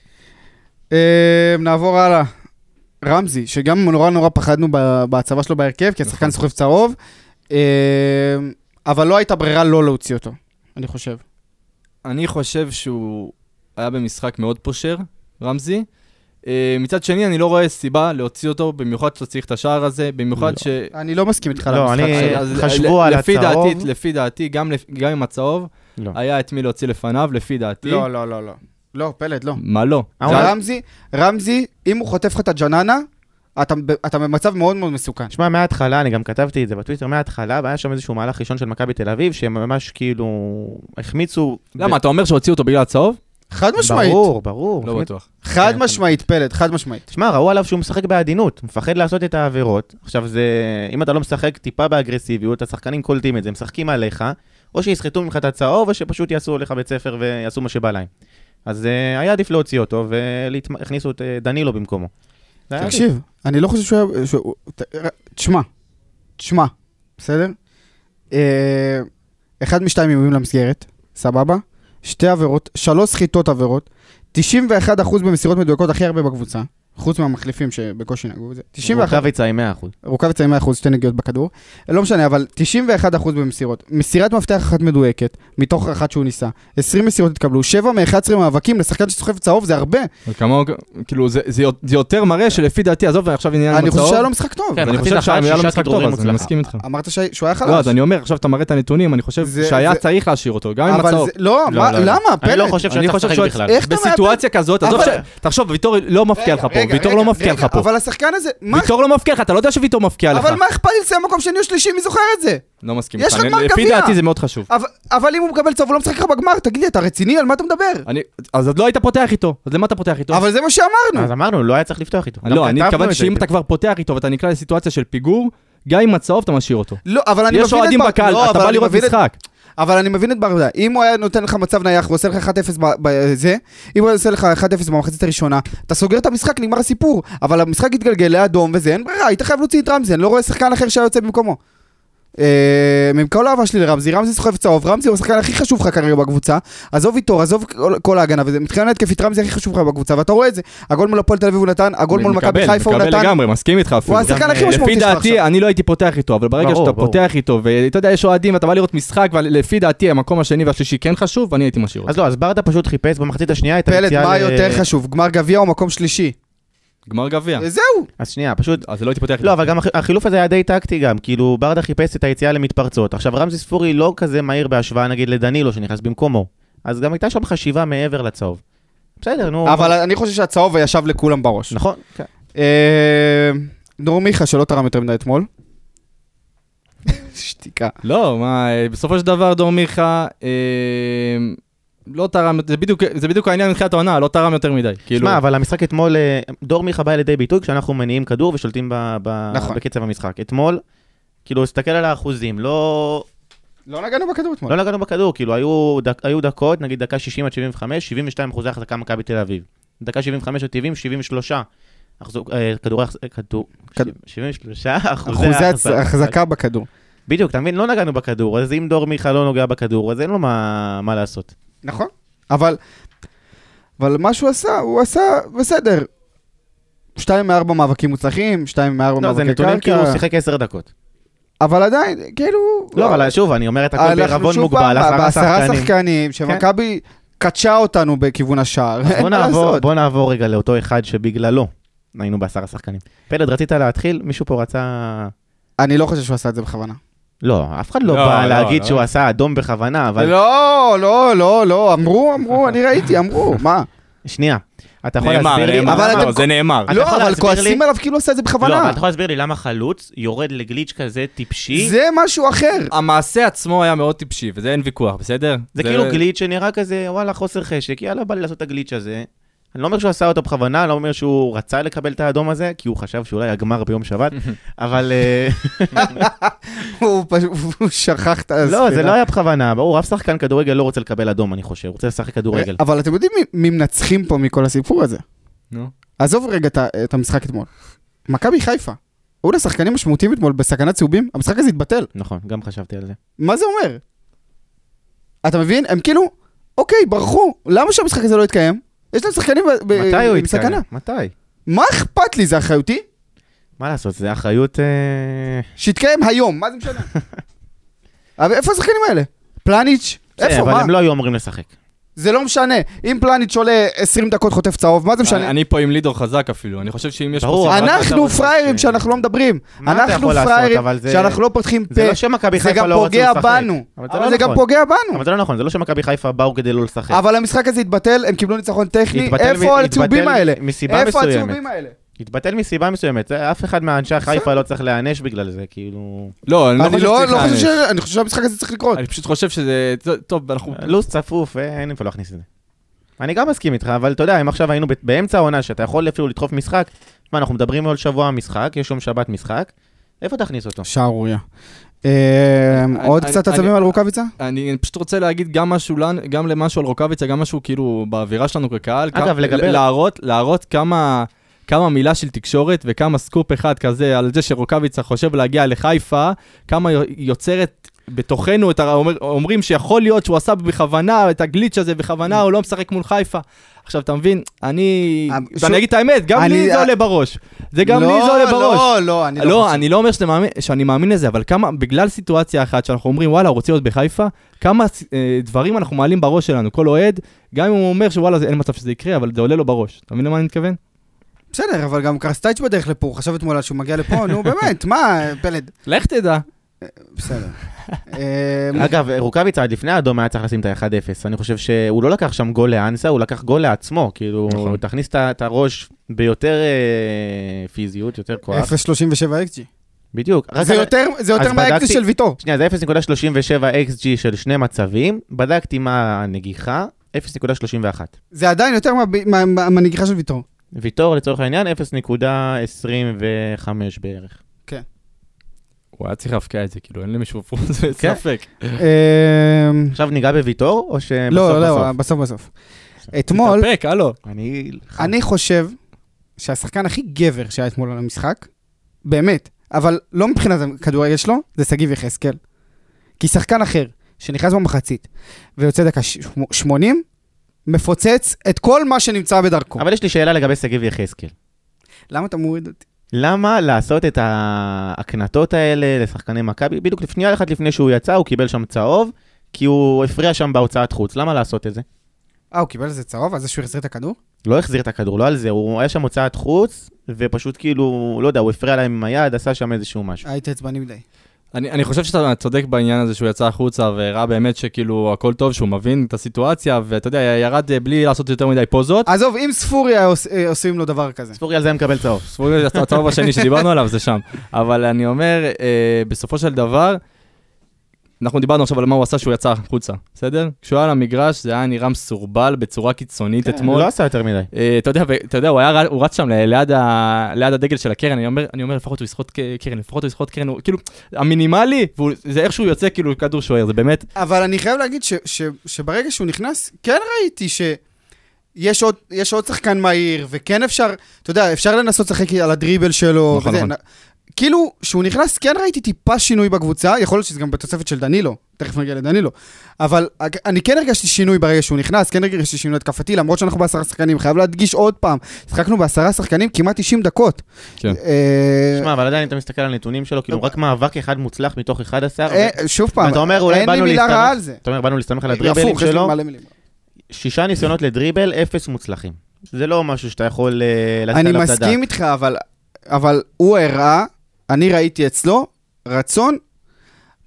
Speaker 5: אה, נעבור הלאה. רמזי, שגם נורא נורא פחדנו ב- בהצבה שלו בהרכב, כי השחקן סוחב צהוב, אה, אבל לא הייתה ברירה לא להוציא אותו, אני חושב.
Speaker 2: אני חושב שהוא היה במשחק מאוד פושר, רמזי. אה, מצד שני, אני לא רואה סיבה להוציא אותו, במיוחד שאתה צריך את השער הזה, במיוחד ש... אה,
Speaker 5: אני לא מסכים איתך על
Speaker 6: לא,
Speaker 5: המשחק
Speaker 6: אני-
Speaker 5: שלו.
Speaker 2: אז
Speaker 6: חשבו
Speaker 2: ל-
Speaker 6: על
Speaker 2: לפי
Speaker 6: הצהוב.
Speaker 2: דעתי, לפי דעתי, גם לפ- גם עם הצהוב,
Speaker 6: לא.
Speaker 2: היה את מי להוציא לפניו, לפי דעתי.
Speaker 5: לא, לא, לא, לא. לא, פלד, לא.
Speaker 2: מה לא?
Speaker 6: אה,
Speaker 2: זה-
Speaker 6: אולי-
Speaker 5: רמזי, רמזי, אם הוא חוטף לך את הג'ננה, אתה ב- אתה במצב מאוד מאוד מסוכן.
Speaker 6: שמע, מההתחלה, אני גם כתבתי את זה בטוויטר, מההתחלה, והיה שם איזשהו מהלך ראשון של מכבי תל אביב, שהם ממש כאילו החמיצו...
Speaker 2: למה, אתה אומר שהוציאו אותו בגלל הצהוב?
Speaker 5: חד משמעית.
Speaker 6: ברור, ברור.
Speaker 2: לא בטוח.
Speaker 5: חד משמעית, פלד, חד משמעית.
Speaker 6: תשמע, ראו עליו שהוא משחק בעדינות, מפחד לעשות את העבירות. עכשיו, זה... אם אתה לא משחק טיפה באגרסיביות, השחקנים קולטים את זה, משחקים עליך, או שיסחטו ממך את הצהוב, או שפשוט יעשו לך בית ספר ויעשו מה שבא להם. אז אה, היה עדיף להוציא אותו, והכניסו את אה, דנילו במקומו. זה היה
Speaker 5: תקשיב, אני לא חושב שהוא היה... שהוא- ת- ר- תשמע, תשמע, בסדר? אה, אחד משתיים איומים למסגרת, סבבה? שתי עבירות, שלוש סחיטות עבירות, 91% במסירות מדויקות הכי הרבה בקבוצה, חוץ מהמחליפים שבקושי נגעו בזה. 91
Speaker 6: רוקאביצה עם 100%.
Speaker 5: רוקאביצה עם 100% שתי נגיעות בכדור. לא משנה, אבל 91% במסירות. מסירת מפתח אחת מדויקת, מתוך אחת שהוא ניסה. 20 מסירות התקבלו, 7 מ-11 מאבקים לשחקן שסוחב צהוב, זה הרבה.
Speaker 2: וכמה, כאילו, זה, זה, זה יותר מראה שלפי דעתי, עזוב עכשיו עניין
Speaker 5: אני חושב
Speaker 2: המצאות,
Speaker 5: שהיה לו משחק טוב.
Speaker 2: אני
Speaker 6: מחצית
Speaker 2: חושב
Speaker 6: אחת,
Speaker 2: שהיה לו
Speaker 6: שישה
Speaker 2: משחק טוב, אז כן,
Speaker 6: כדרורים
Speaker 2: אני
Speaker 6: מוצלח.
Speaker 2: מסכים איתך.
Speaker 5: אמרת שה- שהוא היה חלש.
Speaker 2: לא, אז אני אומר, עכשיו אתה מראה את הנתונים, אני חושב
Speaker 5: זה-
Speaker 2: שהיה
Speaker 5: זה-
Speaker 2: צריך להשאיר אותו, גם עם
Speaker 5: אבל
Speaker 2: הצהוב.
Speaker 5: זה- לא,
Speaker 2: לא,
Speaker 5: מה-
Speaker 2: לא, לא.
Speaker 5: למה?
Speaker 6: אני לא
Speaker 5: פלד.
Speaker 6: חושב
Speaker 2: אני
Speaker 6: שהיה צריך
Speaker 2: חושב
Speaker 6: לשחק
Speaker 2: שהוא-
Speaker 6: בכלל.
Speaker 5: איך אתה מאבד?
Speaker 2: בסיטואציה כזאת, עזוב
Speaker 5: אבל-
Speaker 2: ש... תחשוב, ויטור לא מבקיע לך פה,
Speaker 5: רגע,
Speaker 2: ויטור
Speaker 5: רגע,
Speaker 2: לא מבקיע
Speaker 5: רגע,
Speaker 2: לך פה.
Speaker 5: אבל השחקן הזה, מה
Speaker 2: ויטור לא מבקיע לך, אתה לא יודע שוויטור מבקיע לך.
Speaker 5: אבל מה אכפת לי לסיים מקום שני או שלישי, מי זוכר את זה?
Speaker 2: לא מסכים
Speaker 5: יש
Speaker 2: איתך,
Speaker 5: לך גמר
Speaker 2: לפי
Speaker 5: גביע.
Speaker 2: דעתי זה מאוד חשוב.
Speaker 5: אבל- אבל אם הוא מקבל צהוב, הוא לא משחק לך בגמר, תגיד לי, אתה רציני? על מה אתה מדבר?
Speaker 2: אני- אז עוד לא היית פותח איתו, אז למה אתה פותח איתו?
Speaker 5: אבל זה מה שאמרנו.
Speaker 6: אז אמרנו, לא היה צריך לפתוח איתו. גם
Speaker 2: לא, אני
Speaker 6: כתבנו
Speaker 2: מתכוון
Speaker 6: את זה.
Speaker 2: שאם אתה כבר פותח איתו ואתה נקלע לסיטואציה של פיגור, גם עם הצהוב אתה משאיר אותו.
Speaker 5: לא, אבל אני מבין את...
Speaker 2: יש אוהדים
Speaker 5: בר-
Speaker 2: בקהל,
Speaker 5: לא,
Speaker 2: אתה
Speaker 5: אבל
Speaker 2: בא
Speaker 5: אני
Speaker 2: לראות
Speaker 5: מבין את-
Speaker 2: משחק.
Speaker 5: אבל אני מבין את ברדה, אם הוא היה נותן לך מצב נייח ועושה לך 1-0 ב- בזה, אם הוא היה עושה לך 1-0 במחצית הראשונה, אתה סוגר את המשחק, נגמר הסיפור. אבל המשחק התגלגל לאדום וזה, אין ברירה, היית חייב להוציא את רמזי, אני לא רואה שחקן אחר שהיה יוצא במקומו. אה, עם כל האהבה שלי לרמזי, רמזי סוחב צהוב, רמזי הוא השחקן הכי חשוב לך כרגע בקבוצה, עזוב איתו, עזוב כל- כל ההגנה, וזה מתחילה להתקפית רמזי הכי חשוב לך בקבוצה, ואתה רואה את זה, הגול מול הפועל תל אביב הוא נתן, הגול מול מכבי
Speaker 2: מקבל,
Speaker 5: חיפה הוא
Speaker 2: מקבל
Speaker 5: נתן,
Speaker 2: לגמרי, מסכים איתך אפילו.
Speaker 5: הוא השחקן
Speaker 6: גם,
Speaker 5: הכי
Speaker 6: אה,
Speaker 5: כן, משמעותי
Speaker 2: לפי
Speaker 5: שלך עכשיו.
Speaker 2: דעתי, אני לא הייתי פותח איתו, אבל ברגע
Speaker 6: ברור,
Speaker 2: שאתה
Speaker 6: ברור.
Speaker 2: פותח איתו, ואתה יודע, יש אוהדים, ואתה בא לראות משחק, ולפי דעתי המקום השני והשלישי כן חשוב, אני הייתי משאיר
Speaker 6: אז
Speaker 2: אותו.
Speaker 6: לא, אז ברדה פשוט חיפש במחצית השנייה את
Speaker 5: פלט, מה
Speaker 2: אה,
Speaker 6: ל-
Speaker 5: יותר חשוב, גמר גביע או מקום שלישי? אה,
Speaker 2: גמר גביע.
Speaker 5: זהו,
Speaker 6: אז שנייה, פשוט...
Speaker 2: אז לא הייתי פותח
Speaker 6: לא,
Speaker 2: איתו.
Speaker 6: אבל גם הח- החילוף הזה היה די טקטי גם, כאילו ברדה חיפש את היציאה למתפרצות. עכשיו רמזי ספורי לא כזה מהיר בהשוואה נגיד לדנילו שנכנס במקומו. אז גם הייתה שם חשיבה מעבר לצהוב. בסדר, נו.
Speaker 5: אבל אני חושב שהצהוב ישב לכולם בראש.
Speaker 6: נכון. כן.
Speaker 5: אה, דור מיכה שלא תרם יותר מדי
Speaker 6: (laughs)
Speaker 5: אתמול. שתיקה.
Speaker 2: לא, מה, אה, בסופו של דבר דור מיכה, אה, לא תרם, זה בדיוק- זה בדיוק העניין מתחילת העונה, לא תרם יותר מדי. כאילו,
Speaker 6: שמע, אבל המשחק אתמול, אה, דור מיכה בא לידי ביטוי כשאנחנו מניעים כדור ושולטים ב- ב-
Speaker 5: נכון.
Speaker 6: בקצב המשחק. אתמול, כאילו, הסתכל על האחוזים, לא...
Speaker 5: לא נגענו בכדור אתמול.
Speaker 6: לא נגענו בכדור, כאילו, היו, דק, היו דקות, נגיד דקה 60 עד 75, 72 אחוזי החזקה מכבי תל אביב. דקה 75 עד 70, 73. אחזוק, אה, כדורי החז- כדור,
Speaker 5: כד-
Speaker 6: 73 לא, אחוזי
Speaker 5: אחוזי הצ-
Speaker 6: החזקה.
Speaker 5: החזקה בכדור.
Speaker 6: בדיוק, אתה מבין? לא נגענו בכדור, אז אם דור מיכה לא נוגע בכדור, אז אין לו מה, מה לעשות.
Speaker 5: נכון. אבל, אבל מה שהוא עשה, הוא עשה בסדר. שתיים מארבע מאבקים מוצלחים, שתיים מארבע
Speaker 6: לא, זה
Speaker 5: מאבקי
Speaker 6: נתונים כאילו הוא
Speaker 5: קרקע,
Speaker 6: שיחק 10 דקות.
Speaker 5: אבל עדיין, כאילו...
Speaker 6: לא, אבל שוב, אני אומר את הכל
Speaker 5: אנחנו
Speaker 6: בעירבון
Speaker 5: שוב
Speaker 6: מוגבל,
Speaker 5: פעם
Speaker 6: עשרה
Speaker 5: בעשרה
Speaker 6: שחקנים. כן.
Speaker 5: שחקנים, שמכבי קדשה אותנו בכיוון השער, אין מה
Speaker 6: בוא נעבור,
Speaker 5: לעשות.
Speaker 6: בוא נעבור רגע לאותו אחד שבגללו היינו בעשרה שחקנים. פלד, רצית להתחיל? מישהו פה רצה...
Speaker 5: אני לא חושב שהוא עשה את זה בכוונה.
Speaker 6: לא, אף אחד לא,
Speaker 2: לא,
Speaker 6: בא
Speaker 2: לא,
Speaker 6: להגיד
Speaker 2: לא.
Speaker 6: שהוא עשה אדום בכוונה, אבל...
Speaker 5: לא, לא, לא, לא, אמרו, אמרו, אני ראיתי, אמרו, מה?
Speaker 6: שנייה, אתה יכול
Speaker 2: נאמר,
Speaker 6: להסביר לי...
Speaker 2: נאמר,
Speaker 5: אבל
Speaker 6: למה-
Speaker 5: אתם-
Speaker 2: לא, זה נאמר.
Speaker 6: אתה
Speaker 5: לא,
Speaker 6: יכול
Speaker 5: אבל
Speaker 6: להסביר
Speaker 5: כועסים
Speaker 6: לי?
Speaker 5: עליו כאילו הוא עושה את זה
Speaker 6: לא, אבל
Speaker 5: בכוונה.
Speaker 6: אתה יכול להסביר לי למה חלוץ יורד לגליץ' כזה טיפשי?
Speaker 5: זה משהו אחר.
Speaker 2: המעשה עצמו היה מאוד טיפשי, וזה אין ויכוח, בסדר?
Speaker 6: זה כאילו גליץ' שנראה כזה, וואלה, חוסר חשק, יאללה, בא לי לעשות את הגליץ' הזה. אני לא אומר שהוא עשה אותו בכוונה, אני לא אומר שהוא רצה לקבל את האדום הזה, כי הוא חשב שאולי הגמר ביום
Speaker 2: (laughs)
Speaker 6: שבת, אבל... אה,
Speaker 5: הוא פשוט הוא שכח את הספירה.
Speaker 6: לא, זה לא היה בכוונה, ברור, אף שחקן כדורגל לא רוצה לקבל אדום, אני חושב, הוא רוצה לשחק כדורגל.
Speaker 5: אבל אתם יודעים מי- מי מנצחים פה מכל הסיפור הזה?
Speaker 2: נו.
Speaker 5: עזוב רגע את ה- את המשחק אתמול. מכבי חיפה. היו לה שחקנים משמעותיים אתמול בסכנת צהובים, המשחק הזה התבטל.
Speaker 6: נכון, גם חשבתי על זה.
Speaker 5: מה זה אומר? אתה מבין? הם כאילו, אוקיי, ברחו, למה שהמשחק הזה לא יתקיים? יש להם שחקנים ב- ב-
Speaker 6: מתי הוא
Speaker 5: עם
Speaker 6: התקיים?
Speaker 5: סכנה.
Speaker 6: מתי?
Speaker 5: מה אכפת לי, זה אחריותי?
Speaker 6: מה לעשות, זה אחריות... אה,
Speaker 5: שיתקיים היום, מה זה
Speaker 6: (laughs)
Speaker 5: משנה? אבל איפה השחקנים האלה? פלניץ'?
Speaker 6: בסדר,
Speaker 5: איפה?
Speaker 6: אבל
Speaker 5: מה?
Speaker 6: הם לא היו אמורים לשחק.
Speaker 5: זה לא משנה. אם פלניץ' עולה 20 דקות חוטף צהוב, מה זה משנה?
Speaker 2: אני פה עם לידור חזק אפילו, אני חושב שאם יש פה...
Speaker 6: ברור,
Speaker 2: סיבה-
Speaker 6: אבל אתה
Speaker 5: אנחנו
Speaker 6: רוצה
Speaker 5: פראיירים
Speaker 6: ש-
Speaker 5: שאנחנו לא מדברים.
Speaker 6: מה אתה
Speaker 5: אנחנו
Speaker 6: יכול לעשות,
Speaker 5: פראיירים
Speaker 6: אבל זה-
Speaker 5: שאנחנו לא פותחים
Speaker 6: זה לא
Speaker 5: פה.
Speaker 6: שמכבי
Speaker 5: זה
Speaker 6: חיפה
Speaker 5: גם
Speaker 6: לא רצו
Speaker 5: פוגע
Speaker 6: לשחק.
Speaker 5: בנו.
Speaker 6: אבל זה
Speaker 5: אבל
Speaker 6: לא
Speaker 5: זה גם
Speaker 6: נכון.
Speaker 5: פוגע בנו.
Speaker 6: אבל זה לא נכון, זה לא שמכבי חיפה באו כדי לא לשחק.
Speaker 5: אבל המשחק הזה התבטל, הם קיבלו ניצחון טכני.
Speaker 6: התבטל מ-
Speaker 5: איפה הצהובים
Speaker 6: התבטל
Speaker 5: האלה?
Speaker 6: מסיבה
Speaker 5: איפה
Speaker 6: מסוימת.
Speaker 5: הצהובים האלה?
Speaker 6: התבטל מסיבה מסוימת, זה- אף אחד מאנשי חיפה לא צריך להיענש בגלל זה, כאילו...
Speaker 2: לא, אני לא
Speaker 5: אני
Speaker 2: חושב
Speaker 5: לא
Speaker 2: שצריך
Speaker 5: לא חושב
Speaker 2: להעניש.
Speaker 5: ש... אני חושב שהמשחק הזה צריך לקרות.
Speaker 2: אני פשוט חושב שזה... טוב, אנחנו...
Speaker 5: אוקיי.
Speaker 6: לו"ז צפוף, אה, אין איפה להכניס את זה. אני גם מסכים איתך, אבל אתה יודע, אם עכשיו היינו ב- באמצע העונה, שאתה יכול אפילו לדחוף משחק, תשמע, אנחנו מדברים על שבוע משחק, יש יום שבת משחק, איפה תכניס אותו?
Speaker 5: שערוריה. אה, עוד
Speaker 2: אני-
Speaker 5: קצת
Speaker 2: אני-
Speaker 5: עצבים על רוקאביצה?
Speaker 2: אני פשוט רוצה להגיד גם משהו, לנו- גם למשהו על רוקאביצה, גם משהו כאילו באווירה שלנו כקהל.
Speaker 6: אגב,
Speaker 2: כמה-
Speaker 6: לגבי-
Speaker 2: להראות, להראות כמה... כמה מילה של תקשורת וכמה סקופ אחד כזה על זה שרוקאביצה חושב להגיע לחיפה, כמה יוצרת בתוכנו את ה... אומר, אומרים שיכול להיות שהוא עשה בכוונה את הגליץ' הזה בכוונה, הוא לא משחק מול חיפה. עכשיו, אתה מבין, אני...
Speaker 5: אה, שוב-
Speaker 2: ואני אגיד את האמת, גם
Speaker 5: אני-
Speaker 2: לי זה
Speaker 5: אה,
Speaker 2: עולה בראש. זה גם לי זה עולה בראש.
Speaker 5: לא, לא, אני לא
Speaker 2: לא,
Speaker 5: חושב.
Speaker 2: אני לא אומר שאתה מאמין- שאני מאמין לזה, אבל כמה, בגלל סיטואציה אחת שאנחנו אומרים, וואלה, הוא רוצה להיות בחיפה, כמה אה, דברים אנחנו מעלים בראש שלנו, כל אוהד, גם אם הוא אומר שוואלה, זה- אין מצב שזה יקרה, אבל זה עולה לו בראש. אתה מבין למה אני מתכוון?
Speaker 5: בסדר, אבל גם קרסטייץ' בדרך לפה, הוא חשב אתמול על שהוא מגיע לפה, נו באמת, מה, פלד?
Speaker 2: לך תדע. (laughs)
Speaker 5: בסדר. אה,
Speaker 6: אגב, רוקאביצה עד לפני האדום היה צריך לשים את ה-1-0. אני חושב שהוא לא לקח שם גול לאנסה, הוא לקח גול לעצמו. כאילו,
Speaker 2: נכון.
Speaker 6: תכניס את ה- את הראש ביותר אה, פיזיות, יותר כוח.
Speaker 5: 0.37 XG.
Speaker 6: בדיוק. רק
Speaker 5: זה
Speaker 6: על-
Speaker 5: יותר, זה יותר
Speaker 6: אז
Speaker 5: מהאקזי
Speaker 6: בדקתי-
Speaker 5: של ויטור.
Speaker 6: שנייה, זה 0.37 XG של שני מצבים, בדקתי מה הנגיחה, 0.31.
Speaker 5: זה עדיין יותר מהב- מה- מה- מהנגיחה של
Speaker 2: (laughs)
Speaker 5: ויטור.
Speaker 6: ויטור לצורך העניין 0.25 בערך.
Speaker 2: הוא היה צריך להפקיע את זה, כאילו, אין למישהו פה (laughs) זה
Speaker 6: כן.
Speaker 2: ספק.
Speaker 5: אה,
Speaker 6: עכשיו ניגע בוויטור, או שבסוף
Speaker 5: אמ, לא, לא,
Speaker 6: בסוף?
Speaker 5: בסוף בסוף. אתמול,
Speaker 2: תתאפק, הלו.
Speaker 6: אני...
Speaker 5: אני חושב שהשחקן הכי גבר שהיה אתמול על המשחק, באמת, אבל לא מבחינת הכדורגל שלו, זה שגיב יחזקאל. כי שחקן אחר, שנכנס במחצית ויוצא דקה ש- שמ- 80, מפוצץ את כל מה שנמצא בדרכו.
Speaker 6: אבל יש לי שאלה לגבי שגיב יחזקאל.
Speaker 5: למה אתה מוריד אותי?
Speaker 6: למה לעשות את ההקנטות האלה לשחקני מכבי? בדיוק שנייה אחת לפני שהוא יצא, הוא קיבל שם צהוב, כי הוא הפריע שם בהוצאת חוץ. למה לעשות את זה?
Speaker 5: אה, הוא קיבל איזה צהוב על זה שהוא החזיר את הכדור?
Speaker 6: לא החזיר את הכדור, לא על זה, הוא היה שם הוצאת חוץ, ופשוט כאילו, לא יודע, הוא הפריע להם עם היד, עשה שם איזשהו משהו.
Speaker 5: הייתי עצבני מדי.
Speaker 2: אני, אני חושב שאתה צודק בעניין הזה שהוא יצא החוצה והראה באמת שכאילו הכל טוב, שהוא מבין את הסיטואציה, ואתה יודע, ירד אה, בלי לעשות יותר מדי פוזות.
Speaker 5: עזוב, אם ספורי היה עוש- אה, עושים לו דבר כזה.
Speaker 6: ספורי על זה היה מקבל צהוב.
Speaker 2: ספורי זה הצ- הצהוב השני שדיברנו עליו, זה שם. אבל אני אומר, אה, בסופו של דבר, אנחנו דיברנו עכשיו על מה הוא עשה שהוא יצא החוצה, בסדר? כשהוא היה על המגרש זה היה נראה מסורבל בצורה קיצונית
Speaker 6: הוא
Speaker 2: אתמול.
Speaker 6: לא עשה יותר מדי.
Speaker 2: אה, אתה יודע, ו- אתה יודע, הוא היה ר- הוא רץ שם ל- ליד ה- ליד הדגל של הקרן, אני אומר, אני אומר, לפחות הוא יסחוט ק- קרן, לפחות הוא יסחוט קרן, הוא- כאילו, המינימלי, והוא- זה איך שהוא יוצא כאילו כדור שוער, זה באמת,
Speaker 5: אבל אני חייב להגיד ש, ש, שברגע שהוא נכנס, כן ראיתי ש... יש עוד, יש עוד שחקן מהיר, וכן אפשר, אתה יודע, אפשר לנסות לשחק על הדריבל שלו.
Speaker 2: נכון,
Speaker 5: וזה,
Speaker 2: נכון.
Speaker 5: נ- כאילו, כשהוא נכנס, כן ראיתי טיפה שינוי בקבוצה, יכול להיות שזה גם בתוספת של דנילו, תכף נגיע לדנילו. אבל הג- אני כן הרגשתי שינוי ברגע שהוא נכנס, כן הרגשתי שינוי התקפתי, למרות שאנחנו בעשרה שחקנים, חייב להדגיש עוד פעם, שיחקנו בעשרה שחקנים כמעט 90 דקות.
Speaker 2: כן.
Speaker 5: אה,
Speaker 6: תשמע, אבל עדיין אם אתה מסתכל על הנתונים שלו, כאילו רק מאבק אחד מוצלח מתוך 11,
Speaker 5: אה, שוב פעם,
Speaker 6: אתה אומר, אולי
Speaker 5: אין לי
Speaker 6: באנו
Speaker 5: מילה
Speaker 6: להסתמך-
Speaker 5: רעה על זה. אה,
Speaker 6: אתה אומר, באנו להסתמך על הדריבלים
Speaker 5: הפוך, יש לי
Speaker 6: שלו,
Speaker 5: מלא מילים.
Speaker 6: שישה ניסיונות לדריבל, אפס מוצלחים. זה לא משהו שאתה יכול אה, לתת
Speaker 5: אני
Speaker 6: עליו את הדעת.
Speaker 5: מסכים איתך, אבל, אבל הוא הראה, אני ראיתי אצלו, רצון,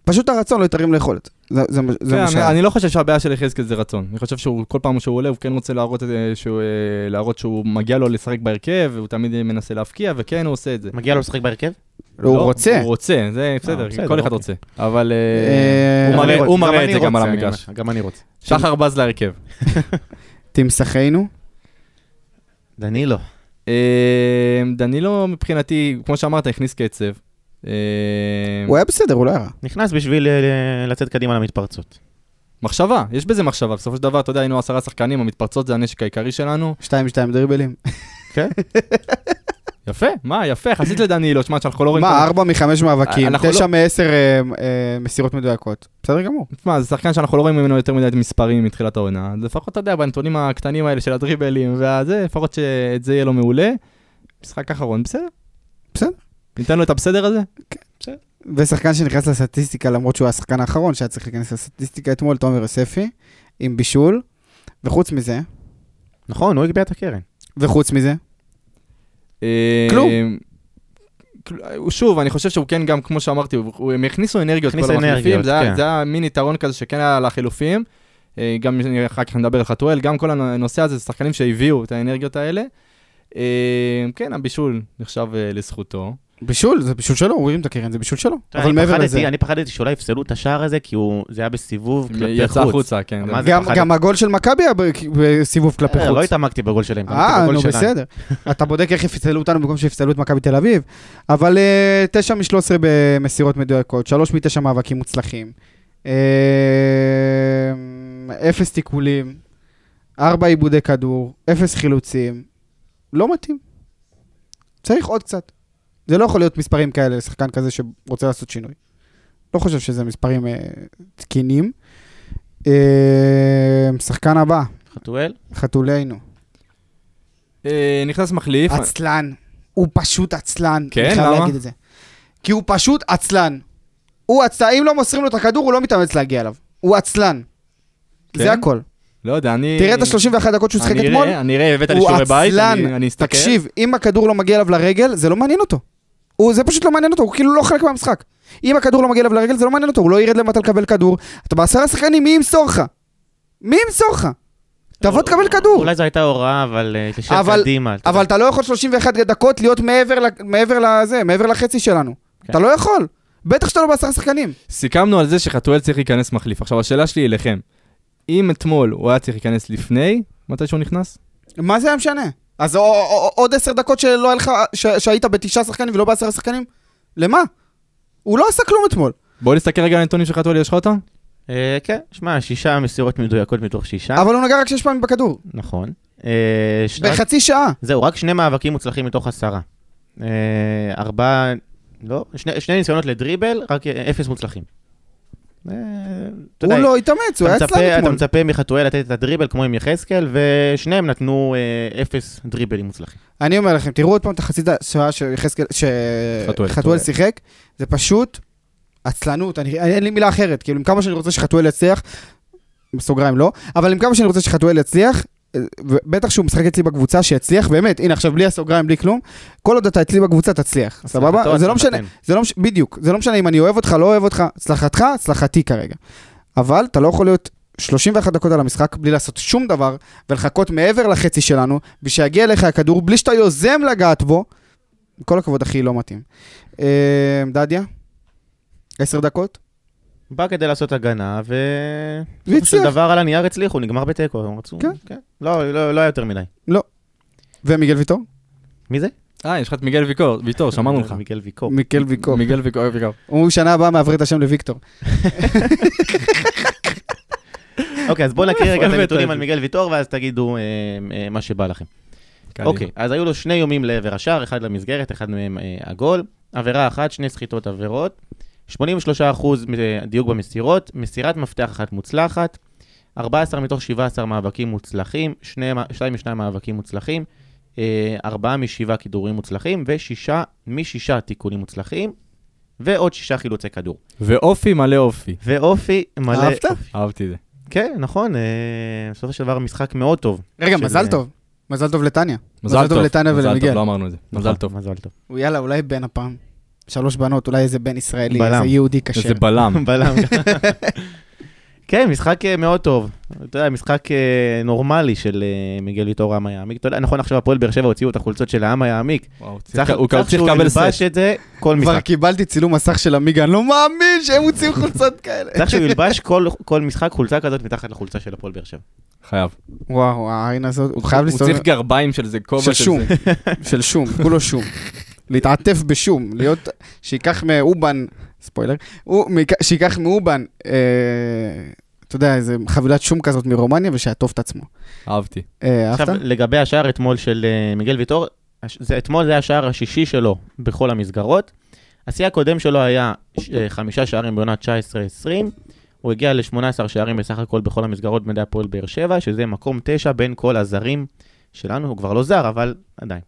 Speaker 5: פשוט הרצון לא התרים ליכולת. זה, זה, מה- זה
Speaker 2: כן,
Speaker 5: מה
Speaker 2: אני-
Speaker 5: שהיה.
Speaker 2: אני לא חושב שהבעיה של יחזקאל זה רצון, אני חושב שהוא, כל פעם שהוא עולה, הוא כן רוצה להראות את זה, שהוא, אה, להראות שהוא מגיע לו לשחק בהרכב, והוא תמיד אה, מנסה להפקיע, וכן, הוא עושה את זה.
Speaker 6: מגיע לו לשחק בהרכב?
Speaker 5: הוא
Speaker 2: לא,
Speaker 5: רוצה.
Speaker 2: הוא רוצה, זה בסדר,
Speaker 6: בסדר,
Speaker 2: כל אחד
Speaker 6: אוקיי.
Speaker 2: רוצה, אבל אה,
Speaker 5: אה,
Speaker 2: הוא מראה-
Speaker 6: אני
Speaker 2: הוא
Speaker 6: רוצה,
Speaker 2: מראה את
Speaker 6: אני
Speaker 2: זה גם על
Speaker 6: רוצה, אני
Speaker 2: המגרש.
Speaker 6: אומר, גם אני רוצה.
Speaker 2: שחר בז להרכב.
Speaker 5: תמסכנו.
Speaker 6: דנילו.
Speaker 2: אה, דנילו מבחינתי, כמו שאמרת, הכניס קצב. אה,
Speaker 5: הוא היה בסדר, הוא לא היה רע.
Speaker 6: נכנס בשביל אה, ל- לצאת קדימה למתפרצות.
Speaker 2: מחשבה, יש בזה מחשבה. בסופו של דבר, אתה יודע, היינו עשרה שחקנים, המתפרצות זה הנשק העיקרי שלנו.
Speaker 5: שתיים,
Speaker 2: (laughs)
Speaker 5: שתיים דריבלים.
Speaker 6: כן?
Speaker 2: יפה, מה, יפה, יחסית לדנילו, שמע, שאנחנו לא רואים...
Speaker 5: מה, ארבע מחמש מאבקים,
Speaker 2: אנחנו
Speaker 5: תשע
Speaker 2: לא-
Speaker 5: מעשר אה, אה, מסירות מדויקות. בסדר גמור.
Speaker 2: מה, זה שחקן שאנחנו לא רואים ממנו יותר מדי מספרים מתחילת העונה. אז לפחות, אתה יודע, בנתונים הקטנים האלה של הדריבלים והזה, לפחות שאת זה יהיה לו מעולה. משחק אחרון, בסדר.
Speaker 5: בסדר.
Speaker 2: ניתן לו את הבסדר הזה?
Speaker 5: ושחקן שנכנס לסטטיסטיקה, למרות שהוא השחקן האחרון שהיה צריך להיכנס לסטטיסטיקה אתמול, תומר יוספי, עם בישול. וחוץ מזה,
Speaker 6: נכון, הוא הגביה את הקרן.
Speaker 5: וחוץ מזה,
Speaker 2: אה,
Speaker 5: כלום.
Speaker 2: כל- שוב, אני חושב שהוא כן גם, כמו שאמרתי, הוא- הוא- הם הכניסו אנרגיות
Speaker 6: הכניס
Speaker 2: כל המחליפים,
Speaker 6: אנרגיות,
Speaker 2: זה היה-
Speaker 6: כן.
Speaker 2: זה היה מין יתרון כזה שכן היה לחילופים. אה, גם אני- אחר כך נדבר על חתואל, גם כל הנושא הזה, זה שחקנים שהביאו את האנרגיות האלה. אה, כן, הבישול נחשב אה, לזכותו.
Speaker 5: בישול, זה בישול שלו, הוא הרים את הקרן, זה בישול שלו.
Speaker 6: אתה יודע,
Speaker 5: אבל
Speaker 6: אני
Speaker 5: מעבר
Speaker 6: פחדתי-
Speaker 5: לזה...
Speaker 6: אני פחדתי שאולי יפסלו את השער הזה, כי הוא- זה היה בסיבוב כלפי חוץ.
Speaker 2: יצא החוצה, כן.
Speaker 6: מה זה
Speaker 5: גם,
Speaker 6: פחד?
Speaker 5: גם הגול של מכבי היה ב- בסיבוב כלפי
Speaker 6: אה, לא
Speaker 5: חוץ.
Speaker 6: התעמקתי בגול שלהם, התעמקתי
Speaker 5: אה,
Speaker 6: בגול
Speaker 5: נו
Speaker 6: שלנו.
Speaker 5: בסדר. אתה בודק איך יפסלו אותנו במקום שיפסלו את מכבי תל אביב. אבל אה, תשע משלוש עשרה במסירות מדויקות, שלוש מתשע מאבקים מוצלחים. אה, אפס תיקולים, ארבע עיבודי כדור, אפס חילוצים. לא מתאים. צריך עוד קצת. זה לא יכול להיות מספרים כאלה לשחקן כזה שרוצה לעשות שינוי. לא חושב שזה מספרים אה, תקינים. אה, שחקן הבא,
Speaker 6: חתואל?
Speaker 5: חתולנו.
Speaker 2: אה, נכנס מחליף.
Speaker 5: עצלן. הוא פשוט עצלן.
Speaker 2: כן?
Speaker 5: אני חייב
Speaker 2: למה?
Speaker 5: להגיד את זה. כי הוא פשוט עצלן. הוא עצלן, אם לא מוסרים לו את הכדור, הוא לא מתאמץ להגיע אליו. הוא עצלן.
Speaker 2: כן?
Speaker 5: זה הכל.
Speaker 2: לא יודע, אני...
Speaker 5: תראה את ה-31 דקות שהוא שיחק
Speaker 2: אני
Speaker 5: אתמול.
Speaker 2: אראה, אני אראה, הבאת לי
Speaker 5: הוא
Speaker 2: שיעורי בית,
Speaker 5: עצלן.
Speaker 2: אני- אני אסתכל.
Speaker 5: תקשיב, אם הכדור לא מגיע אליו לרגל, זה לא מעניין אותו. הוא, זה פשוט לא מעניין אותו, הוא כאילו לא חלק מהמשחק. אם הכדור לא מגיע אליו לרגל, זה לא מעניין אותו, הוא לא ירד למטה לקבל כדור. אתה בעשרה שחקנים, מי ימסור לך? מי ימסור לך?
Speaker 2: לא,
Speaker 5: תבוא תקבל כדור.
Speaker 6: אולי זו הייתה הוראה, אבל אה, תשב
Speaker 5: אבל-
Speaker 6: קדימה. אתה
Speaker 5: אבל אתה לא יכול 31 דקות להיות מעבר ל- מעבר לזה, מעבר לחצי שלנו.
Speaker 6: כן.
Speaker 5: אתה לא יכול. בטח שאתה לא בעשרה שחקנים.
Speaker 2: סיכמנו על זה שחתואל צריך להיכנס מחליף. עכשיו, השאלה שלי היא אליכם. אם אתמול הוא היה צריך להיכנס לפני, מתי שהוא נכנס?
Speaker 5: מה זה היה משנה? אז א- א- א- עוד עשר דקות שלא היה לך, ש- שהיית בתשעה שחקנים ולא בעשרה שחקנים? למה? הוא לא עשה כלום אתמול.
Speaker 2: בוא נסתכל רגע על הנתונים של חתואל, יש לך אותם?
Speaker 6: אה, כן, שמע, שישה מסירות מדויקות מתוך שישה.
Speaker 5: אבל הוא נגע רק שש פעמים בכדור.
Speaker 6: נכון. אה, ש- רק-
Speaker 5: בחצי שעה.
Speaker 6: זהו, רק שני מאבקים מוצלחים מתוך עשרה. אה, ארבעה, לא, שני שני ניסיונות לדריבל, רק אה, אפס מוצלחים. אה, אתה
Speaker 5: הוא
Speaker 6: יודע,
Speaker 5: לא התאמץ, הוא
Speaker 6: אתה
Speaker 5: היה אצלנו
Speaker 6: מצפה, אתה
Speaker 5: אתמול.
Speaker 6: מצפה מחתואל לתת את הדריבל כמו עם יחזקאל, ושניהם נתנו אה, אפס דריבלים מוצלחים.
Speaker 5: אני אומר לכם, תראו עוד פעם את החצי שעה שיחזקאל-
Speaker 2: חתואל.
Speaker 5: שחתואל שיחק, זה פשוט עצלנות, אני- אין לי מילה אחרת. כאילו, עם כמה שאני רוצה שחתואל יצליח, בסוגריים לא, אבל עם כמה שאני רוצה שחתואל יצליח, אה, בטח שהוא משחק אצלי בקבוצה, שיצליח, באמת, הנה עכשיו בלי הסוגריים, בלי כלום, כל עוד אתה אצלי בקבוצה, תצליח, סבבה?
Speaker 6: הצלחתו,
Speaker 5: זה לא משנה,
Speaker 6: הצלחתנו.
Speaker 5: זה לא משנה, בדיוק, זה לא משנה אם אני אוהב אותך, לא אוהב אותך, הצלחתך, הצלחתי כרגע. אבל אתה לא יכול להיות 31 דקות על המשחק בלי לעשות שום דבר, ולחכות מעבר לחצי שלנו, ושיגיע אליך הכדור בלי שאתה יוזם לגעת בו. עם כל הכבוד, אחי, לא מתאים. אה, דדיה? עשר דקות?
Speaker 6: בא כדי לעשות הגנה, ו...
Speaker 5: והצליח.
Speaker 6: בסופו של דבר על הנייר הצליחו, נגמר בתיקו, הם רצו...
Speaker 5: כן.
Speaker 6: כן. לא, לא לא היה יותר מדי.
Speaker 5: ומיגל ויטור?
Speaker 6: מי זה? אה,
Speaker 2: אה, יש לך את מיגל ויקור- ויטור, שמענו לך.
Speaker 6: מיגל ויקור.
Speaker 5: מיגל ויקור.
Speaker 2: מיגל ויקור, ויקור.
Speaker 5: הוא שנה הבאה מעביר את השם לוויקטור.
Speaker 6: אוקיי,
Speaker 5: (laughs)
Speaker 6: אז בואו נקריא רגע את
Speaker 2: הבאת את
Speaker 6: הנתונים
Speaker 2: זה?
Speaker 6: על מיגל ויטור, ואז תגידו אה, אה, מה שבא לכם. אוקיי, אז היו לו שני יומים לעבר השער, אחד למסגרת, אחד מהם אה, עגול. עבירה אחת, שני סחיטות עבירות. 83% מ- אה, דיוק במסירות, מסירת מפתח אחת מוצלחת. 14 מתוך 17 מאבקים מוצלחים, 2 מ-2 מאבקים מוצלחים, 4 מ-7 כידורים מוצלחים ו-6 מ-6 תיקונים מוצלחים, ועוד 6 חילוצי כדור.
Speaker 2: ואופי מלא אופי.
Speaker 6: ואופי מלא...
Speaker 5: אהבת?
Speaker 2: אהבתי את זה.
Speaker 6: כן, נכון, אה, בסופו של דבר משחק מאוד טוב. אה,
Speaker 5: רגע,
Speaker 6: שזה-
Speaker 5: מזל טוב. מזל טוב לטניה.
Speaker 2: אה, מזל טוב.
Speaker 5: לטניה
Speaker 2: מזל טוב,
Speaker 5: ולמיגל. נכון.
Speaker 2: לא אמרנו את זה. מזל טוב.
Speaker 6: נכון, מזל טוב.
Speaker 5: יאללה, אולי בן הפעם. שלוש בנות, אולי איזה בן ישראלי,
Speaker 6: בלם.
Speaker 5: איזה יהודי כשר.
Speaker 2: איזה
Speaker 5: (laughs)
Speaker 2: בלם.
Speaker 6: (laughs) בלם. כן, משחק אה, מאוד טוב. אתה יודע, משחק אה, נורמלי של אה, מיגל ויטור העם היעמיק. אתה יודע, נכון, עכשיו הפועל באר שבע הוציאו את החולצות של העם היעמיק.
Speaker 2: וואו, הוא צריך-
Speaker 6: צריך
Speaker 2: הוא
Speaker 6: צריך
Speaker 2: צריך
Speaker 6: שהוא
Speaker 2: לקבל
Speaker 6: ילבש
Speaker 2: סט.
Speaker 6: את זה כל
Speaker 5: כבר
Speaker 6: משחק.
Speaker 5: קיבלתי צילום מסך של עמיגה, אני לא מאמין שהם
Speaker 2: (laughs)
Speaker 5: מוציאים חולצות כאלה.
Speaker 6: צריך שהוא ילבש כל- כל משחק חולצה כזאת מתחת לחולצה של הפועל באר שבע.
Speaker 2: חייב.
Speaker 5: וואו, העין הזאת, הוא חייב
Speaker 2: הוא
Speaker 5: להסתובב
Speaker 2: צריך גרביים של זה, כובע
Speaker 5: של
Speaker 2: של
Speaker 5: שום,
Speaker 2: זה.
Speaker 5: (laughs) של שום, כולו שום. להתעטף בשום, להיות, שייקח מאובן, ספוילר, הוא מייק- שייקח מאובן, אה, אתה יודע, איזה חבילת שום כזאת מרומניה ושיעטוף את עצמו.
Speaker 2: אהבתי.
Speaker 5: אה, אהבת?
Speaker 6: עכשיו, לגבי השער אתמול של אה, מיגל ויטור, הש- זה- אתמול זה היה השער השישי שלו בכל המסגרות. השיא הקודם שלו היה ש- אה, חמישה שערים בעונה 19-20. הוא הגיע ל-18 שערים בסך הכל בכל המסגרות במדעי הפועל באר שבע, שזה מקום תשע בין כל הזרים שלנו. הוא כבר לא זר, אבל עדיין.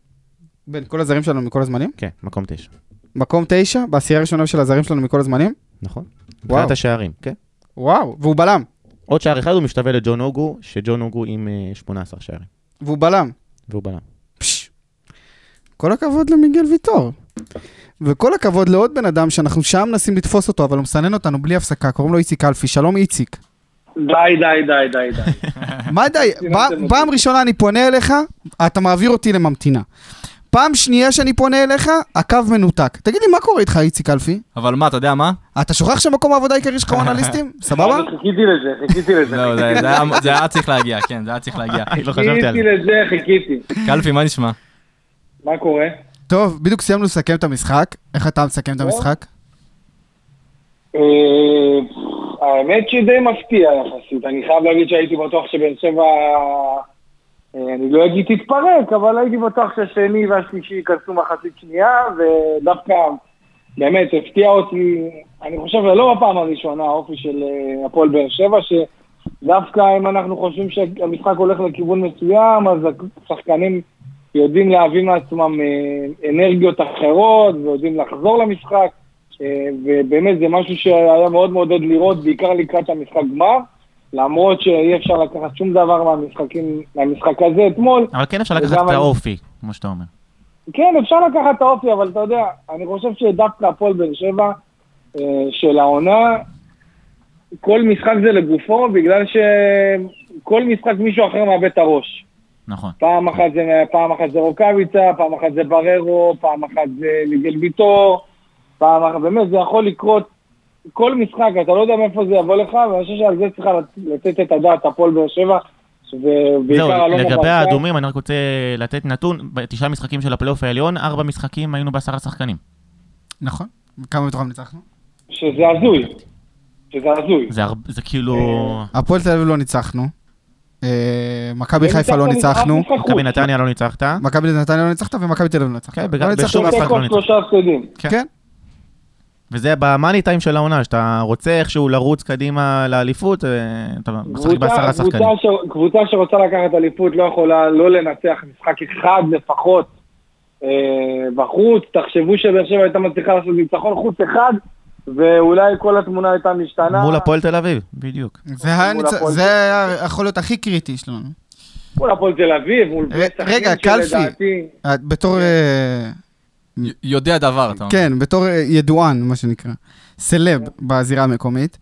Speaker 5: בין כל הזרים שלנו מכל הזמנים?
Speaker 6: כן, מקום תשע.
Speaker 5: מקום תשע, בעשייה הראשונה של הזרים שלנו מכל הזמנים?
Speaker 6: נכון? מבחינת
Speaker 5: וואו,
Speaker 6: השערים, כן.
Speaker 5: וואו, והוא בלם,
Speaker 6: עוד שער אחד הוא משתווה לג'ון אוגו, שג'ון אוגו עם אה, 18 שערים,
Speaker 5: והוא בלם.
Speaker 6: והוא בלם.
Speaker 5: פש. כל הכבוד למיגל ויטור. וכל הכבוד לעוד בן אדם שאנחנו שעה מנסים לתפוס אותו, אבל הוא מסנן אותנו בלי הפסקה, קוראים לו איציק אלפי, שלום איציק.
Speaker 8: די, די, די, די, די.
Speaker 5: (laughs) מה די?
Speaker 8: סיימתם
Speaker 5: פע-
Speaker 8: אותי.
Speaker 5: פעם ראשונה אני פונה אליך, אתה מעביר אותי לממתינה. פעם שנייה שאני פונה אליך, הקו מנותק. תגיד לי, מה קורה איתך, איציק אלפי?
Speaker 2: אבל מה, אתה יודע מה?
Speaker 5: אתה שוכח שמקום העבודה העיקרי שלך הוא אנליסטים? סבבה?
Speaker 8: אבל חיכיתי לזה, חיכיתי לזה.
Speaker 2: לא, זה- זה היה- זה היה צריך להגיע, כן, זה היה צריך (laughs) להגיע.
Speaker 6: לא חשבתי על
Speaker 8: חיכיתי
Speaker 6: זה.
Speaker 8: לזה, חיכיתי.
Speaker 2: קלפי, מה נשמע?
Speaker 8: מה קורה?
Speaker 5: טוב, בדיוק סיימנו לסכם את המשחק. איך אתה מסכם את המשחק?
Speaker 8: אה, האמת שדי מפתיע יחסית. אני חייב להגיד שהייתי בטוח שבאר שבע... אה, אני לא אגיד תתפרק, אבל הייתי בטוח שהשני והשלישי ייכנסו מחצית שנייה, ודווקא באמת הפתיע אותי, אני חושב, לא בפעם הראשונה, האופי של אה, הפועל באר שבע, שדווקא אם אנחנו חושבים שהמשחק הולך לכיוון מסוים, אז השחקנים יודעים להביא מעצמם אה, אנרגיות אחרות ויודעים לחזור למשחק, אה, ובאמת זה משהו שהיה מאוד מעודד לראות, בעיקר לקראת המשחק גמר, למרות שאי אפשר לקחת שום דבר מהמשחקים, מהמשחק הזה אתמול.
Speaker 9: אבל כן אפשר לקחת
Speaker 8: וגם
Speaker 9: את
Speaker 8: אני-
Speaker 9: האופי, כמו שאתה אומר.
Speaker 8: כן, אפשר לקחת את האופי, אבל אתה יודע, אני חושב שדווקא הפועל באר שבע אה, של העונה, כל משחק זה לגופו, בגלל שכל משחק מישהו אחר מאבד את הראש.
Speaker 9: נכון.
Speaker 8: פעם אחת זה, פעם אחת זה רוקאביצה, פעם אחת זה בררו, פעם אחת זה ליגל ויטור, פעם אחת, באמת, זה יכול לקרות כל משחק, אתה לא יודע מאיפה זה יבוא לך, ואני חושב שעל זה צריכה לתת את הדעת הפועל באר שבע,
Speaker 9: זהו,
Speaker 8: ובעיקר אלונה
Speaker 9: לגבי
Speaker 8: ברקת.
Speaker 9: האדומים, אני רק רוצה לתת נתון, בתשעה משחקים של הפלייאוף העליון, ארבע משחקים היינו בעשרה שחקנים.
Speaker 5: נכון. כמה מתוכם ניצחנו?
Speaker 8: שזה הזוי. שזה הזוי.
Speaker 9: זה הר- זה כאילו...
Speaker 8: אה,
Speaker 5: הפועל תל אביב לא ניצחנו. אה, מכבי
Speaker 8: לא
Speaker 5: חיפה לא
Speaker 8: ניצחת אף
Speaker 5: ניצחנו.
Speaker 8: משחק חוץ.
Speaker 9: מכבי נתניה לא ניצחת.
Speaker 5: מכבי נתניה לא ניצחת ומכבי תל אביב לא ניצחת.
Speaker 9: כן, בגלל-
Speaker 5: לא ניצחנו
Speaker 9: בשום
Speaker 5: באף אחד.
Speaker 9: משחק לא
Speaker 8: תיקו
Speaker 9: ניצח.
Speaker 8: שלושה הפסדים.
Speaker 5: כן.
Speaker 9: וזה במאני טיים של העונה, שאתה רוצה איכשהו לרוץ קדימה לאליפות, אה, אתה משחק
Speaker 8: קבוצה-
Speaker 9: בעשרה
Speaker 8: קבוצה
Speaker 9: שחקנים.
Speaker 8: ש- קבוצה שרוצה לקחת אליפות לא יכולה לא לנצח משחק אחד לפחות אה, בחוץ. תחשבו שבאר שבע הייתה מצליחה לעשות ניצחון חוץ אחד, ואולי כל התמונה הייתה משתנה.
Speaker 9: מול הפועל תל אביב, בדיוק.
Speaker 5: זה היה
Speaker 8: מול
Speaker 5: ניצ-
Speaker 8: הפועל.
Speaker 5: זה היה יכול להיות הכי קריטי שלנו.
Speaker 8: מול הפועל תל אביב, מול בני
Speaker 5: ר-
Speaker 8: סכנין,
Speaker 5: רגע, קלפי.
Speaker 8: שלדעתי-
Speaker 5: אה, בתור...
Speaker 8: כן.
Speaker 5: אה,
Speaker 2: י- יודע דבר, אתה אומר.
Speaker 5: כן, בתור אה, ידוען, מה שנקרא. סלב
Speaker 8: כן.
Speaker 5: בזירה המקומית.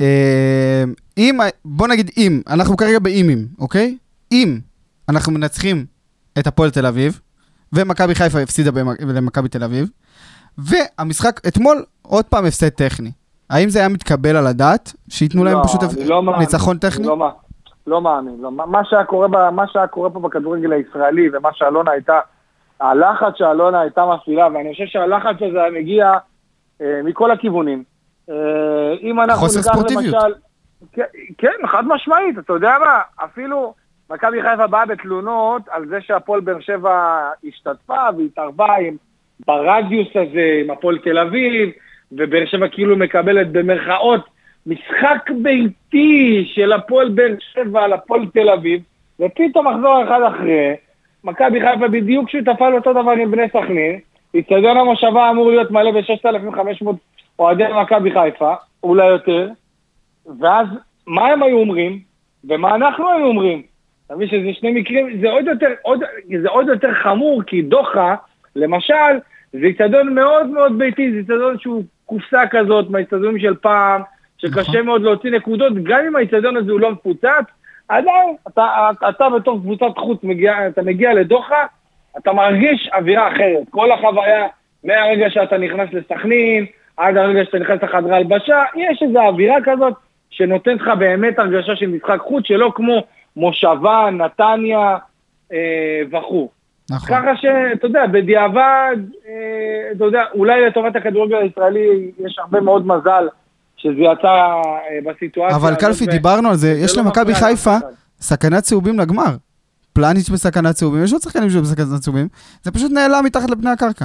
Speaker 5: אה, אם, ה- בוא נגיד אם, אנחנו כרגע באימים, אוקיי? אם אנחנו מנצחים את הפועל תל אביב, ומכבי חיפה הפסידה במ- למכבי תל אביב, והמשחק אתמול עוד פעם הפסד טכני. האם זה היה מתקבל על הדעת? שייתנו להם
Speaker 8: לא,
Speaker 5: פשוט הפ-
Speaker 8: אני לא מאמין.
Speaker 5: ניצחון טכני?
Speaker 8: אני לא, מא- לא מאמין. לא. מה- מה, שהיה קורה ב, מה שהיה קורה פה בכדורגל הישראלי ומה שאלונה הייתה, הלחץ שאלונה הייתה מפעילה, ואני חושב שהלחץ הזה היה מגיע אה, מכל הכיוונים. אה, אם אנחנו
Speaker 5: חוסר
Speaker 8: ניקח
Speaker 5: ספורטיביות.
Speaker 8: למשל... כן- כן, חד משמעית, אתה יודע מה, אפילו מכבי חיפה באה בתלונות על זה שהפועל באר שבע השתתפה והתערבה עם, ברדיוס הזה, עם הפועל תל אביב, ובאר שבע כאילו מקבלת במרכאות משחק ביתי של הפועל באר שבע על הפועל תל אביב, ופתאום מחזור אחד אחרי, מכבי חיפה בדיוק שותפה לאותו דבר עם בני סכנין, אצטדיון המושבה אמור להיות מלא ב-6,500 אוהדי מכבי חיפה, אולי יותר, ואז מה הם היו אומרים, ומה אנחנו היו אומרים. אתה מבין שזה שני מקרים, זה עוד יותר, עוד, זה עוד יותר חמור, כי דוחה, למשל, זה איצטדיון מאוד מאוד ביתי, זה איצטדיון שהוא קופסה כזאת מהאיצטדיונים של פעם, שקשה מאוד להוציא נקודות, גם אם האיצטדיון הזה הוא לא מפוצץ, עדיין אתה, אתה בתור קבוצת חוץ מגיע, אתה מגיע לדוחה, אתה מרגיש אווירה אחרת. כל החוויה, מהרגע שאתה נכנס לסכנין, עד הרגע שאתה נכנס לחדרי הלבשה, יש איזו אווירה כזאת שנותנת לך באמת הרגשה של משחק חוץ, שלא כמו מושבה, נתניה אה, וכו'.
Speaker 5: נכון.
Speaker 8: ככה שאתה יודע, בדיעבד, אה, אתה יודע, אולי לטובת הכדורגל הישראלי יש הרבה מאוד מזל שזה יצא אה, בסיטואציה.
Speaker 5: אבל
Speaker 8: הזאת,
Speaker 5: קלפי,
Speaker 8: ו-
Speaker 5: דיברנו על זה, יש
Speaker 8: זה לא
Speaker 5: למכבי
Speaker 8: מפריע לאף
Speaker 5: חיפה
Speaker 8: אחד.
Speaker 5: סכנת צהובים לגמר. פלניץ' בסכנת צהובים, יש עוד שחקנים שהיו בסכנת צהובים, זה פשוט נעלם מתחת לפני הקרקע.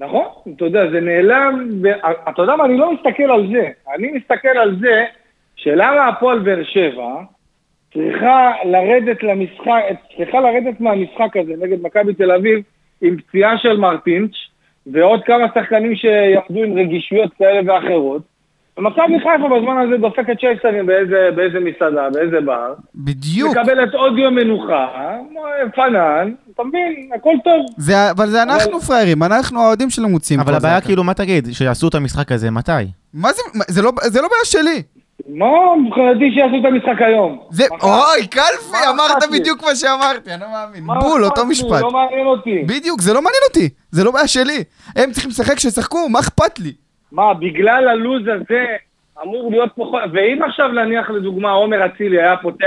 Speaker 8: נכון, אתה יודע, זה נעלם, ו- אתה יודע מה, אני לא מסתכל על זה, אני מסתכל על זה שלמה הפועל באר שבע צריכה לרדת למשחק, צריכה לרדת מהמשחק הזה נגד מכבי תל אביב עם פציעה של מרטינץ' ועוד כמה שחקנים שיעבדו עם רגישויות כאלה ואחרות. ומכבי חיפה בזמן הזה דופקת צ'ייסרים באיזה, באיזה מסעדה, באיזה בר,
Speaker 5: בדיוק.
Speaker 8: מקבלת עוד יום מנוחה, פנן, אתה מבין, הכל טוב.
Speaker 5: זה, אבל זה אנחנו פראיירים, אנחנו האוהדים של המוצאים.
Speaker 9: אבל
Speaker 5: כל
Speaker 9: הבעיה
Speaker 5: הזעקה.
Speaker 9: כאילו, מה תגיד? שיעשו את המשחק הזה, מתי?
Speaker 5: מה זה, מה- זה לא, זה לא בעיה שלי.
Speaker 8: מה מבחינתי שיעשו את המשחק היום?
Speaker 5: זה,
Speaker 8: מחר.
Speaker 5: אוי, קלפי,
Speaker 8: מה
Speaker 5: אמרת
Speaker 8: אכפת לי?
Speaker 5: בדיוק מה שאמרתי, אני לא מאמין.
Speaker 8: מה
Speaker 5: בול,
Speaker 8: אכפת
Speaker 5: אותו
Speaker 8: לי?
Speaker 5: משפט.
Speaker 8: לא מעניין אותי.
Speaker 5: בדיוק, זה לא מעניין אותי, זה לא בעיה שלי. הם צריכים לשחק, שישחקו, מה אכפת לי?
Speaker 8: מה, בגלל הלו"ז הזה אמור להיות פה... חו- ואם עכשיו נניח לדוגמה עומר אצילי היה פותח,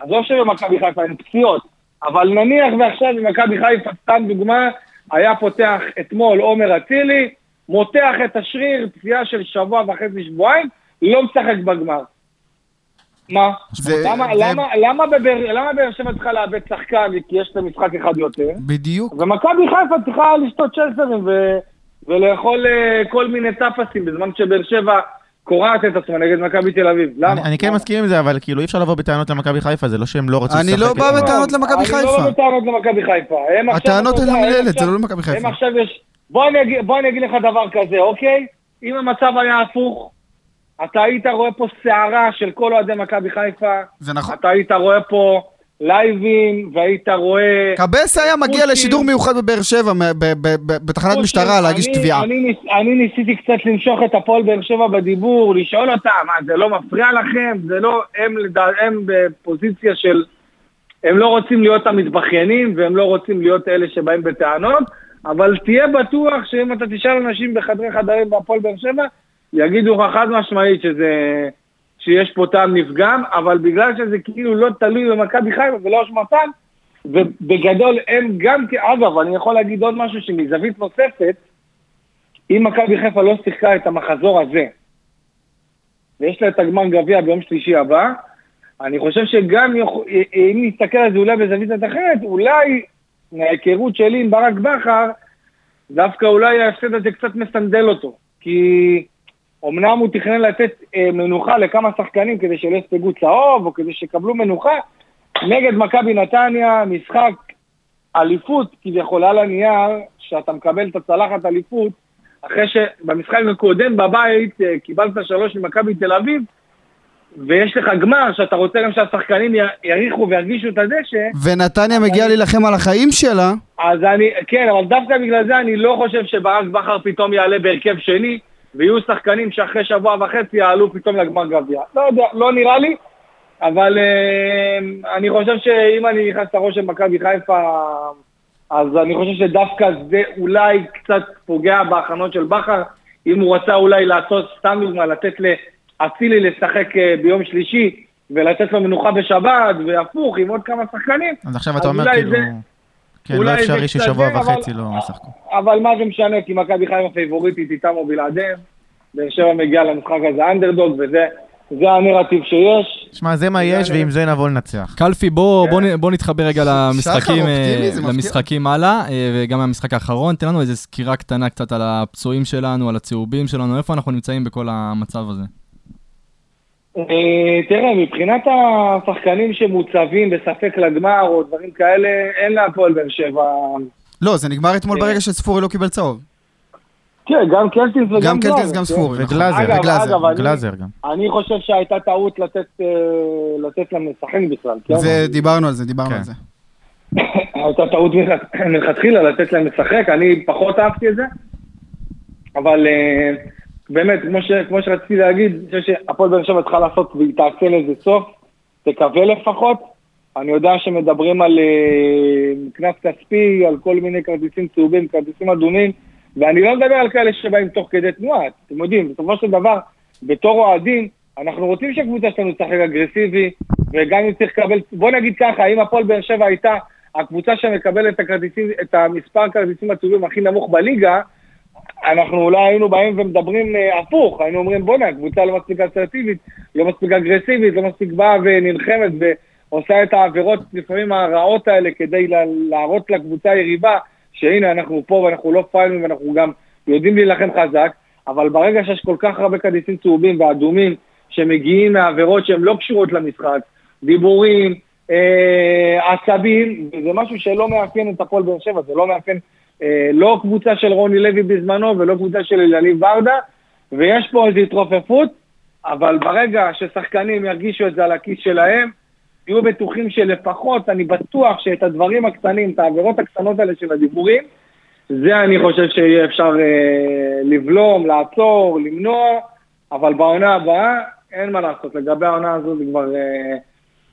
Speaker 8: לא עזוב שבמכבי חיפה אין פציעות, אבל נניח ועכשיו במכבי חיפה, סתם דוגמה, היה פותח אתמול עומר אצילי, מותח את השריר, פציעה של שבוע וחצי, שבועיים, לא משחק בגמר. מה?
Speaker 5: זה-
Speaker 8: למה,
Speaker 5: זה-
Speaker 8: למה, למה בבאר למה באר שבע צריכה לאבד שחקן כי יש לה משחק אחד יותר?
Speaker 5: בדיוק.
Speaker 8: ומכבי חיפה צריכה לשתות צ'לסרים ו... ולאכול אה, כל מיני טאפסים, בזמן שבאר שבע קורעת את עצמה נגד מכבי תל אביב. למה?
Speaker 9: אני אני כן
Speaker 8: למה?
Speaker 9: מסכים עם זה, אבל כאילו אי אפשר לבוא בטענות למכבי חיפה, זה לא שהם לא רצו לשחק.
Speaker 5: אני לא בא
Speaker 9: אתמול.
Speaker 5: בטענות למכבי
Speaker 8: אני לא
Speaker 5: חיפה.
Speaker 8: בא בטענות למכבי חיפה. הם עכשיו-
Speaker 5: הטענות הן
Speaker 8: הם
Speaker 5: למנהלת, זה
Speaker 8: עכשיו-
Speaker 5: לא למכבי חיפה.
Speaker 8: הם עכשיו יש... בוא אני אגיד- בוא אני אגיד לך דבר כזה, אוקיי? אם המצב היה הפוך, אתה היית רואה פה סערה של כל אוהדי מכבי חיפה.
Speaker 5: זה נכון.
Speaker 8: אתה היית רואה פה לייבים, והיית רואה...
Speaker 5: קבס היה מגיע
Speaker 8: פושים.
Speaker 5: לשידור מיוחד בבאר שבע, מ- ב- ב- ב- בתחנת
Speaker 8: כמו
Speaker 5: משטרה,
Speaker 8: שאני-
Speaker 5: להגיש תביעה.
Speaker 8: לא, אני, ניס- אני ניסיתי קצת למשוך את הפועל באר שבע בדיבור, לשאול אותם, מה, זה לא מפריע לכם? זה לא, הם, לדע- הם בפוזיציה של, הם לא רוצים להיות המתבכיינים, והם לא רוצים להיות אלה שבאים בטענות, אבל תהיה בטוח שאם אתה תשאל אנשים בחדרי חדרים בהפועל באר שבע, יגידו לך חד משמעית שזה... שיש פה טעם נפגם, אבל בגלל שזה כאילו לא תלוי במכבי חיפה ולא אשמתם, ובגדול הם גם, כ- אגב, אני יכול להגיד עוד משהו שמזווית נוספת, אם מכבי חיפה לא שיחקה את המחזור הזה, ויש לה את הגמר גביע ביום שלישי הבא, אני חושב שגם יכול- אם נסתכל על זה אולי בזווית קצת אחרת, אולי מההיכרות שלי עם ברק בכר, דווקא אולי ההפסד הזה קצת מסנדל אותו. כי אמנם הוא תכנן לתת אה, מנוחה לכמה שחקנים כדי שלא יספגו צהוב, או כדי שיקבלו מנוחה, נגד מכבי נתניה, משחק אליפות כביכול על הנייר, שאתה מקבל את הצלחת אליפות, אחרי שבמשחק הקודם בבית אה, קיבלת שלוש ממכבי תל אביב, ויש לך גמר שאתה רוצה גם שהשחקנים י- יריחו וירגישו את הדשא,
Speaker 5: ונתניה מגיעה להילחם על החיים שלה,
Speaker 8: אז אני, כן, אבל דווקא בגלל זה אני לא חושב שברק בכר פתאום יעלה בהרכב שני, ויהיו שחקנים שאחרי שבוע וחצי יעלו פתאום לגמר גביע. לא יודע, לא נראה לי, אבל אה, אני חושב שאם אני נכנס לראש של מכבי חיפה, אז אני חושב שדווקא זה אולי קצת פוגע בהכנות של בכר, אם הוא רצה אולי לעשות, סתם דוגמא, לתת לאצילי לשחק אה, ביום שלישי, ולתת לו מנוחה בשבת, והפוך, עם עוד כמה שחקנים.
Speaker 9: אז עכשיו
Speaker 8: אז
Speaker 9: אתה אומר
Speaker 8: אולי
Speaker 9: כאילו...
Speaker 8: זה-
Speaker 9: כן, לא
Speaker 8: אולי זה
Speaker 9: אפשרי
Speaker 8: קצת
Speaker 9: ששבוע
Speaker 8: זה, אבל-
Speaker 9: וחצי לא ישחקו.
Speaker 8: אבל מה זה משנה, כי מכבי חיפה פייבוריטית איתם או בלעדיהם. באר שבע מגיעה למשחק הזה אנדרדוג, וזה זה הנרטיב שיש.
Speaker 9: שמע, זה מה יש, ועם זה נבוא לנצח.
Speaker 2: קלפי, בוא, בוא, נ- בוא נתחבר רגע למשחקים, אה,
Speaker 5: אופטימי, זה מפתיע.
Speaker 2: למשחקים הלאה, אה, וגם מהמשחק האחרון. תן לנו איזו סקירה קטנה קצת על הפצועים שלנו, על הצהובים שלנו, איפה אנחנו נמצאים בכל המצב הזה.
Speaker 8: אה, תראה, מבחינת השחקנים שמוצבים בספק לגמר או דברים כאלה, אין להפועל באר שבע.
Speaker 5: לא, זה נגמר אתמול
Speaker 8: כן.
Speaker 5: ברגע שספורי לא קיבל צהוב.
Speaker 8: כן, גם קלטינס וגם
Speaker 5: גם קלטינס,
Speaker 8: גלאזר,
Speaker 5: גם
Speaker 8: כן.
Speaker 5: ספורי. נכון.
Speaker 9: וגלאזר,
Speaker 8: אגב,
Speaker 5: וגלאזר,
Speaker 8: אגב, אני-
Speaker 9: גלאזר גם.
Speaker 8: אני חושב שהייתה טעות לתת, אה, לתת להם לשחק בכלל. כן?
Speaker 5: זה, דיברנו על זה, דיברנו
Speaker 9: כן.
Speaker 5: על זה.
Speaker 8: (coughs) הייתה טעות מלכ- מלכתחילה לתת להם לשחק, אני פחות אהבתי את זה, אבל אה, באמת, כמו, ש, כמו שרציתי להגיד, אני חושב שהפועל באר שבע צריכה לעשות והיא תעשה לזה סוף, תקווה לפחות. אני יודע שמדברים על אה, קנס כספי, על כל מיני כרטיסים צהובים, כרטיסים אדומים, ואני לא מדבר על כאלה שבאים תוך כדי תנועה, אתם יודעים, בסופו של דבר, בתור אוהדים, אנחנו רוצים שהקבוצה שלנו תשחק אגרסיבי, וגם אם צריך לקבל, בוא נגיד ככה, אם הפועל באר שבע הייתה הקבוצה שמקבלת את, הכרטיסים, את המספר הכרטיסים הצהובים הכי נמוך בליגה, אנחנו אולי היינו באים ומדברים אה, הפוך, היינו אומרים בואנה, הקבוצה לא מספיק אסרטיבית, לא מספיק אגרסיבית, לא מספיק באה ונלחמת ועושה את העבירות לפעמים הרעות האלה כדי לה, להראות לקבוצה היריבה שהנה אנחנו פה ואנחנו לא פיילים ואנחנו גם יודעים להילחם חזק, אבל ברגע שיש כל כך הרבה כרטיסים צהובים ואדומים שמגיעים מעבירות שהן לא קשורות למשחק, דיבורים, אה, עצבים, זה משהו שלא מאפיין את הפועל באר שבע, זה לא מאפיין אה, לא קבוצה של רוני לוי בזמנו ולא קבוצה של אלניב ברדה, ויש פה איזו התרופפות, אבל ברגע ששחקנים ירגישו את זה על הכיס שלהם, תהיו בטוחים שלפחות, אני בטוח שאת הדברים הקטנים, את העבירות הקטנות האלה של הדיבורים, זה אני חושב שיהיה אפשר אה, לבלום, לעצור, למנוע, אבל בעונה הבאה אין מה לעשות. לגבי העונה הזו זה כבר, אה,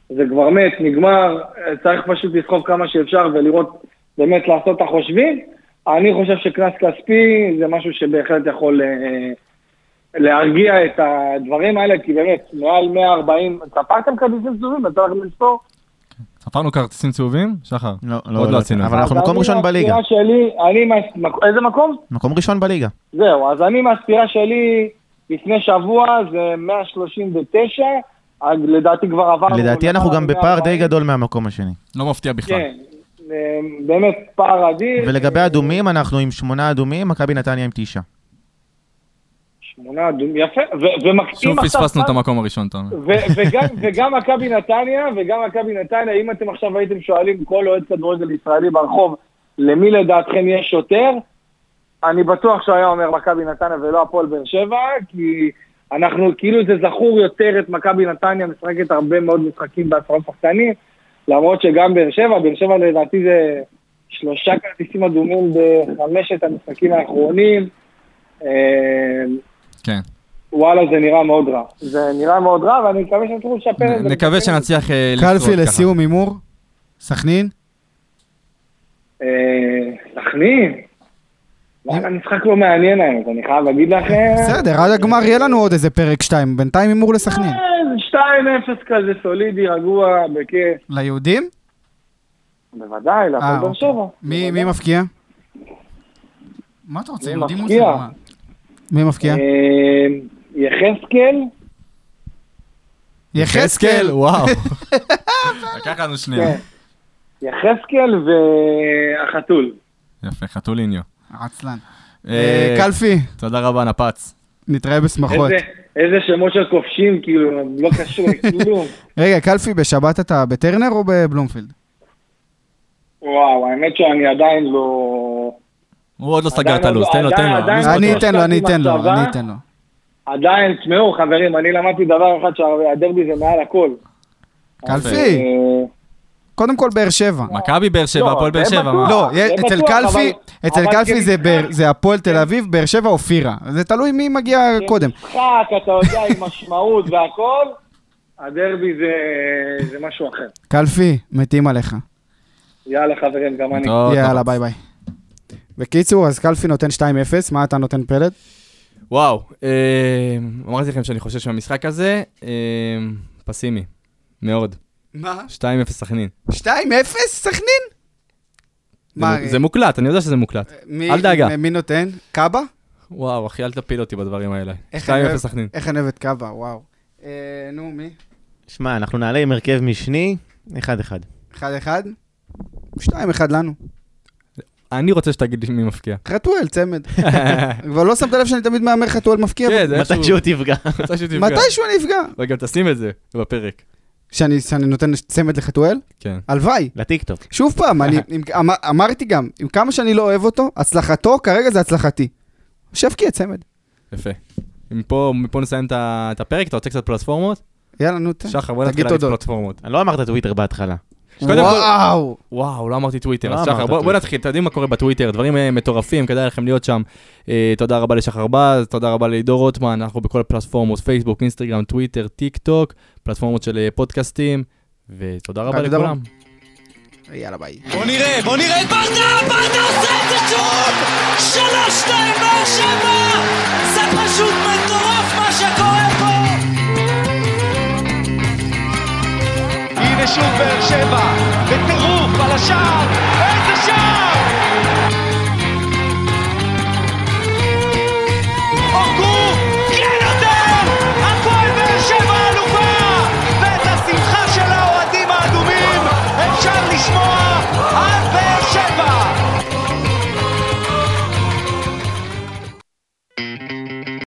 Speaker 8: זה כבר מת, נגמר, אה, צריך פשוט לסחוב כמה שאפשר ולראות באמת לעשות את החושבים. אני חושב שקנס כספי זה משהו שבהחלט יכול אה, להרגיע את הדברים האלה, כי באמת, מעל 140, ספרתם כרטיסים צהובים, אתה הולך לספור?
Speaker 2: ספרנו כרטיסים צהובים? שחר,
Speaker 9: לא,
Speaker 2: עוד לא עשינו את זה.
Speaker 9: אבל אנחנו
Speaker 8: אז
Speaker 9: מקום
Speaker 8: אני
Speaker 9: ראשון בליגה.
Speaker 8: מהספירה שלי, אני, מה- איזה מקום?
Speaker 9: מקום ראשון בליגה.
Speaker 8: זהו, אז אני מהספירה שלי לפני שבוע זה 139, אז לדעתי כבר עברנו...
Speaker 9: לדעתי אנחנו גם בפער די
Speaker 8: 140.
Speaker 9: גדול מהמקום השני.
Speaker 2: לא מפתיע בכלל.
Speaker 8: כן, אה, באמת פער אדיר.
Speaker 9: ולגבי אדומים, אנחנו עם שמונה אדומים, מכבי נתניה עם תשעה.
Speaker 8: שמונה אדומים, יפה, ו- ומקטים
Speaker 2: שוב
Speaker 8: עכשיו...
Speaker 2: פספסנו את המקום הראשון, אתה אומר.
Speaker 8: ו- וגם, וגם מכבי נתניה, וגם מכבי נתניה, אם אתם עכשיו הייתם שואלים כל אוהד כדורגל ישראלי ברחוב, למי לדעתכם יש יותר, אני בטוח שהוא היה אומר מכבי נתניה ולא הפועל באר שבע, כי אנחנו, כאילו זה זכור יותר את מכבי נתניה משחקת הרבה מאוד משחקים בעשרה שחקנים, למרות שגם באר שבע, באר שבע לדעתי זה שלושה כרטיסים אדומים בחמשת המשחקים האחרונים. אה,
Speaker 2: כן.
Speaker 8: וואלה, זה נראה מאוד רע. זה נראה מאוד רע, ואני מקווה שתוכלו לשפר את כן, זה.
Speaker 2: נקווה שנצליח אה, לשרוד
Speaker 5: קלפי
Speaker 2: ככה.
Speaker 5: לסיום הימור, סכנין,
Speaker 8: כן. אה, סכנין? וואלה, משחק לא מעניין האמת, אני חייב להגיד לכם.
Speaker 5: בסדר, עד הגמר יהיה לנו עוד איזה פרק 2, בינתיים הימור לסכנין.
Speaker 8: אה, 2-0 כזה סולידי, רגוע, בכיף.
Speaker 5: ליהודים?
Speaker 8: בוודאי, להפועל
Speaker 5: אה,
Speaker 8: באר שבע. אה,
Speaker 5: מי מי מפקיע? מה אתה רוצה,
Speaker 8: מי
Speaker 5: יהודים
Speaker 8: מפקיע?
Speaker 5: מוסלמים? מה? מי מפקיע?
Speaker 8: אה, יחזקאל?
Speaker 5: יחזקאל!
Speaker 2: (laughs) וואו. לקח לנו
Speaker 5: אה.
Speaker 2: שנייה.
Speaker 8: כן. יחזקאל והחתול.
Speaker 2: יפה, חתוליניו.
Speaker 5: עצלן.
Speaker 2: אה,
Speaker 5: אה, קלפי,
Speaker 2: תודה רבה, נפץ.
Speaker 5: נתראה בשמחות.
Speaker 8: איזה- איזה שמות של כובשים, כאילו, הם לא קשור
Speaker 5: (laughs)
Speaker 8: לכלום.
Speaker 5: רגע, קלפי, בשבת אתה בטרנר או בבלומפילד?
Speaker 8: וואו, האמת שאני עדיין לא...
Speaker 2: הוא עוד לא סגר
Speaker 8: עדיין
Speaker 2: את הלו"ז,
Speaker 8: עוד-
Speaker 2: תן לו, תן לו.
Speaker 8: עדיין- לא
Speaker 2: אני
Speaker 8: עדיין-
Speaker 2: אזמין
Speaker 5: אני
Speaker 2: אותו.
Speaker 5: אתן לו, אני
Speaker 8: ישבתי
Speaker 5: אתן לו,
Speaker 8: בצבא.
Speaker 5: אני אתן לו.
Speaker 8: עדיין, תשמעו חברים, אני למדתי דבר אחד שהדרבי זה מעל הכל.
Speaker 2: אוקיי.
Speaker 5: קלפי,
Speaker 8: אה,
Speaker 5: קודם כל באר שבע.
Speaker 2: מכבי באר שבע,
Speaker 8: לא,
Speaker 2: הפועל באר
Speaker 8: זה
Speaker 2: שבע,
Speaker 8: בטוח.
Speaker 2: מה?
Speaker 5: לא,
Speaker 8: זה
Speaker 5: אצל
Speaker 8: בטוח,
Speaker 5: קלפי,
Speaker 8: אבל-
Speaker 5: אצל
Speaker 8: אבל
Speaker 2: כן.
Speaker 5: קלפי זה
Speaker 8: כמשחק-
Speaker 5: באר- זה הפועל תל אביב, באר שבע או טירה. זה תלוי מי מגיע
Speaker 2: כן.
Speaker 5: קודם.
Speaker 8: משחק, אתה יודע, עם משמעות והכל, הדרבי זה, זה משהו אחר.
Speaker 5: קלפי, מתים עליך.
Speaker 8: יאללה חברים, גם אני.
Speaker 2: טוב, טוב.
Speaker 5: לא, יאללה, ביי ביי. בקיצור, אז קלפי נותן 2-0, מה אתה נותן פלד?
Speaker 2: וואו, אה, אמרתי לכם שאני חושש מהמשחק הזה, אה, פסימי, מאוד.
Speaker 5: מה?
Speaker 2: 2-0 סכנין.
Speaker 5: 2-0? סכנין? מה, אה,
Speaker 2: זה- זה מוקלט, אני יודע שזה מוקלט.
Speaker 5: מי-
Speaker 2: אל דאגה.
Speaker 5: מי נותן? קאבה?
Speaker 2: וואו, אחי, אל תפיל אותי בדברים האלה.
Speaker 5: איך
Speaker 2: 2-0
Speaker 5: אני-
Speaker 2: סכנין.
Speaker 5: איך אני אוהב את קאבה, וואו. אה, נו, מי?
Speaker 6: שמע, אנחנו נעלה עם הרכב משני, 1-1.
Speaker 5: 1-1? 2-1 לנו.
Speaker 2: אני רוצה שתגיד לי מי מפקיע.
Speaker 5: כן, חתואל, צמד. (laughs) כבר לא שמת לב שאני תמיד מהמר חתואל מפקיע?
Speaker 2: כן, זה איכשהו...
Speaker 6: מתישהו תפגע.
Speaker 2: מתישהו תפגע.
Speaker 5: מתישהו אני אפגע.
Speaker 2: וגם תשים את זה בפרק.
Speaker 5: שאני שאני נותן צמד לחתואל?
Speaker 2: כן.
Speaker 5: הלוואי.
Speaker 6: לטיקטוק.
Speaker 5: שוב פעם, אני, עם, אמר, אמרתי גם, עם כמה שאני לא אוהב אותו, הצלחתו כרגע זה הצלחתי. שיפקיע צמד.
Speaker 2: יפה. מפה, מפה נסיים את ה- את הפרק, אתה רוצה קצת פלטפורמות?
Speaker 5: יאללה, נו, תן.
Speaker 2: שחר, בוא נתחיל
Speaker 5: כן. תגיד
Speaker 2: להריץ
Speaker 5: תודות.
Speaker 2: פלטפורמות.
Speaker 6: אני לא אמרת טוויטר בהתחלה.
Speaker 2: קודם כל-
Speaker 5: וואו!
Speaker 2: וואו, לא אמרתי טוויטר,
Speaker 6: לא
Speaker 2: אז
Speaker 6: אמרת
Speaker 2: שחר, בוא- בוא
Speaker 6: טוויטר.
Speaker 2: נתחיל, אתם יודעים מה קורה בטוויטר, דברים אה, מטורפים, כדאי לכם להיות שם. אה, תודה רבה לשחר בז, תודה רבה לעידו רוטמן, אנחנו בכל הפלטפורמות, פייסבוק, אינסטגרם, טוויטר, טיק טוק, פלטפורמות של אה, פודקאסטים, ותודה רבה
Speaker 5: רק תודה
Speaker 2: לכולם.
Speaker 5: יאללה, ביי.
Speaker 3: בוא נראה, בוא נראה את ברדה, ברדה עושה!
Speaker 4: כן,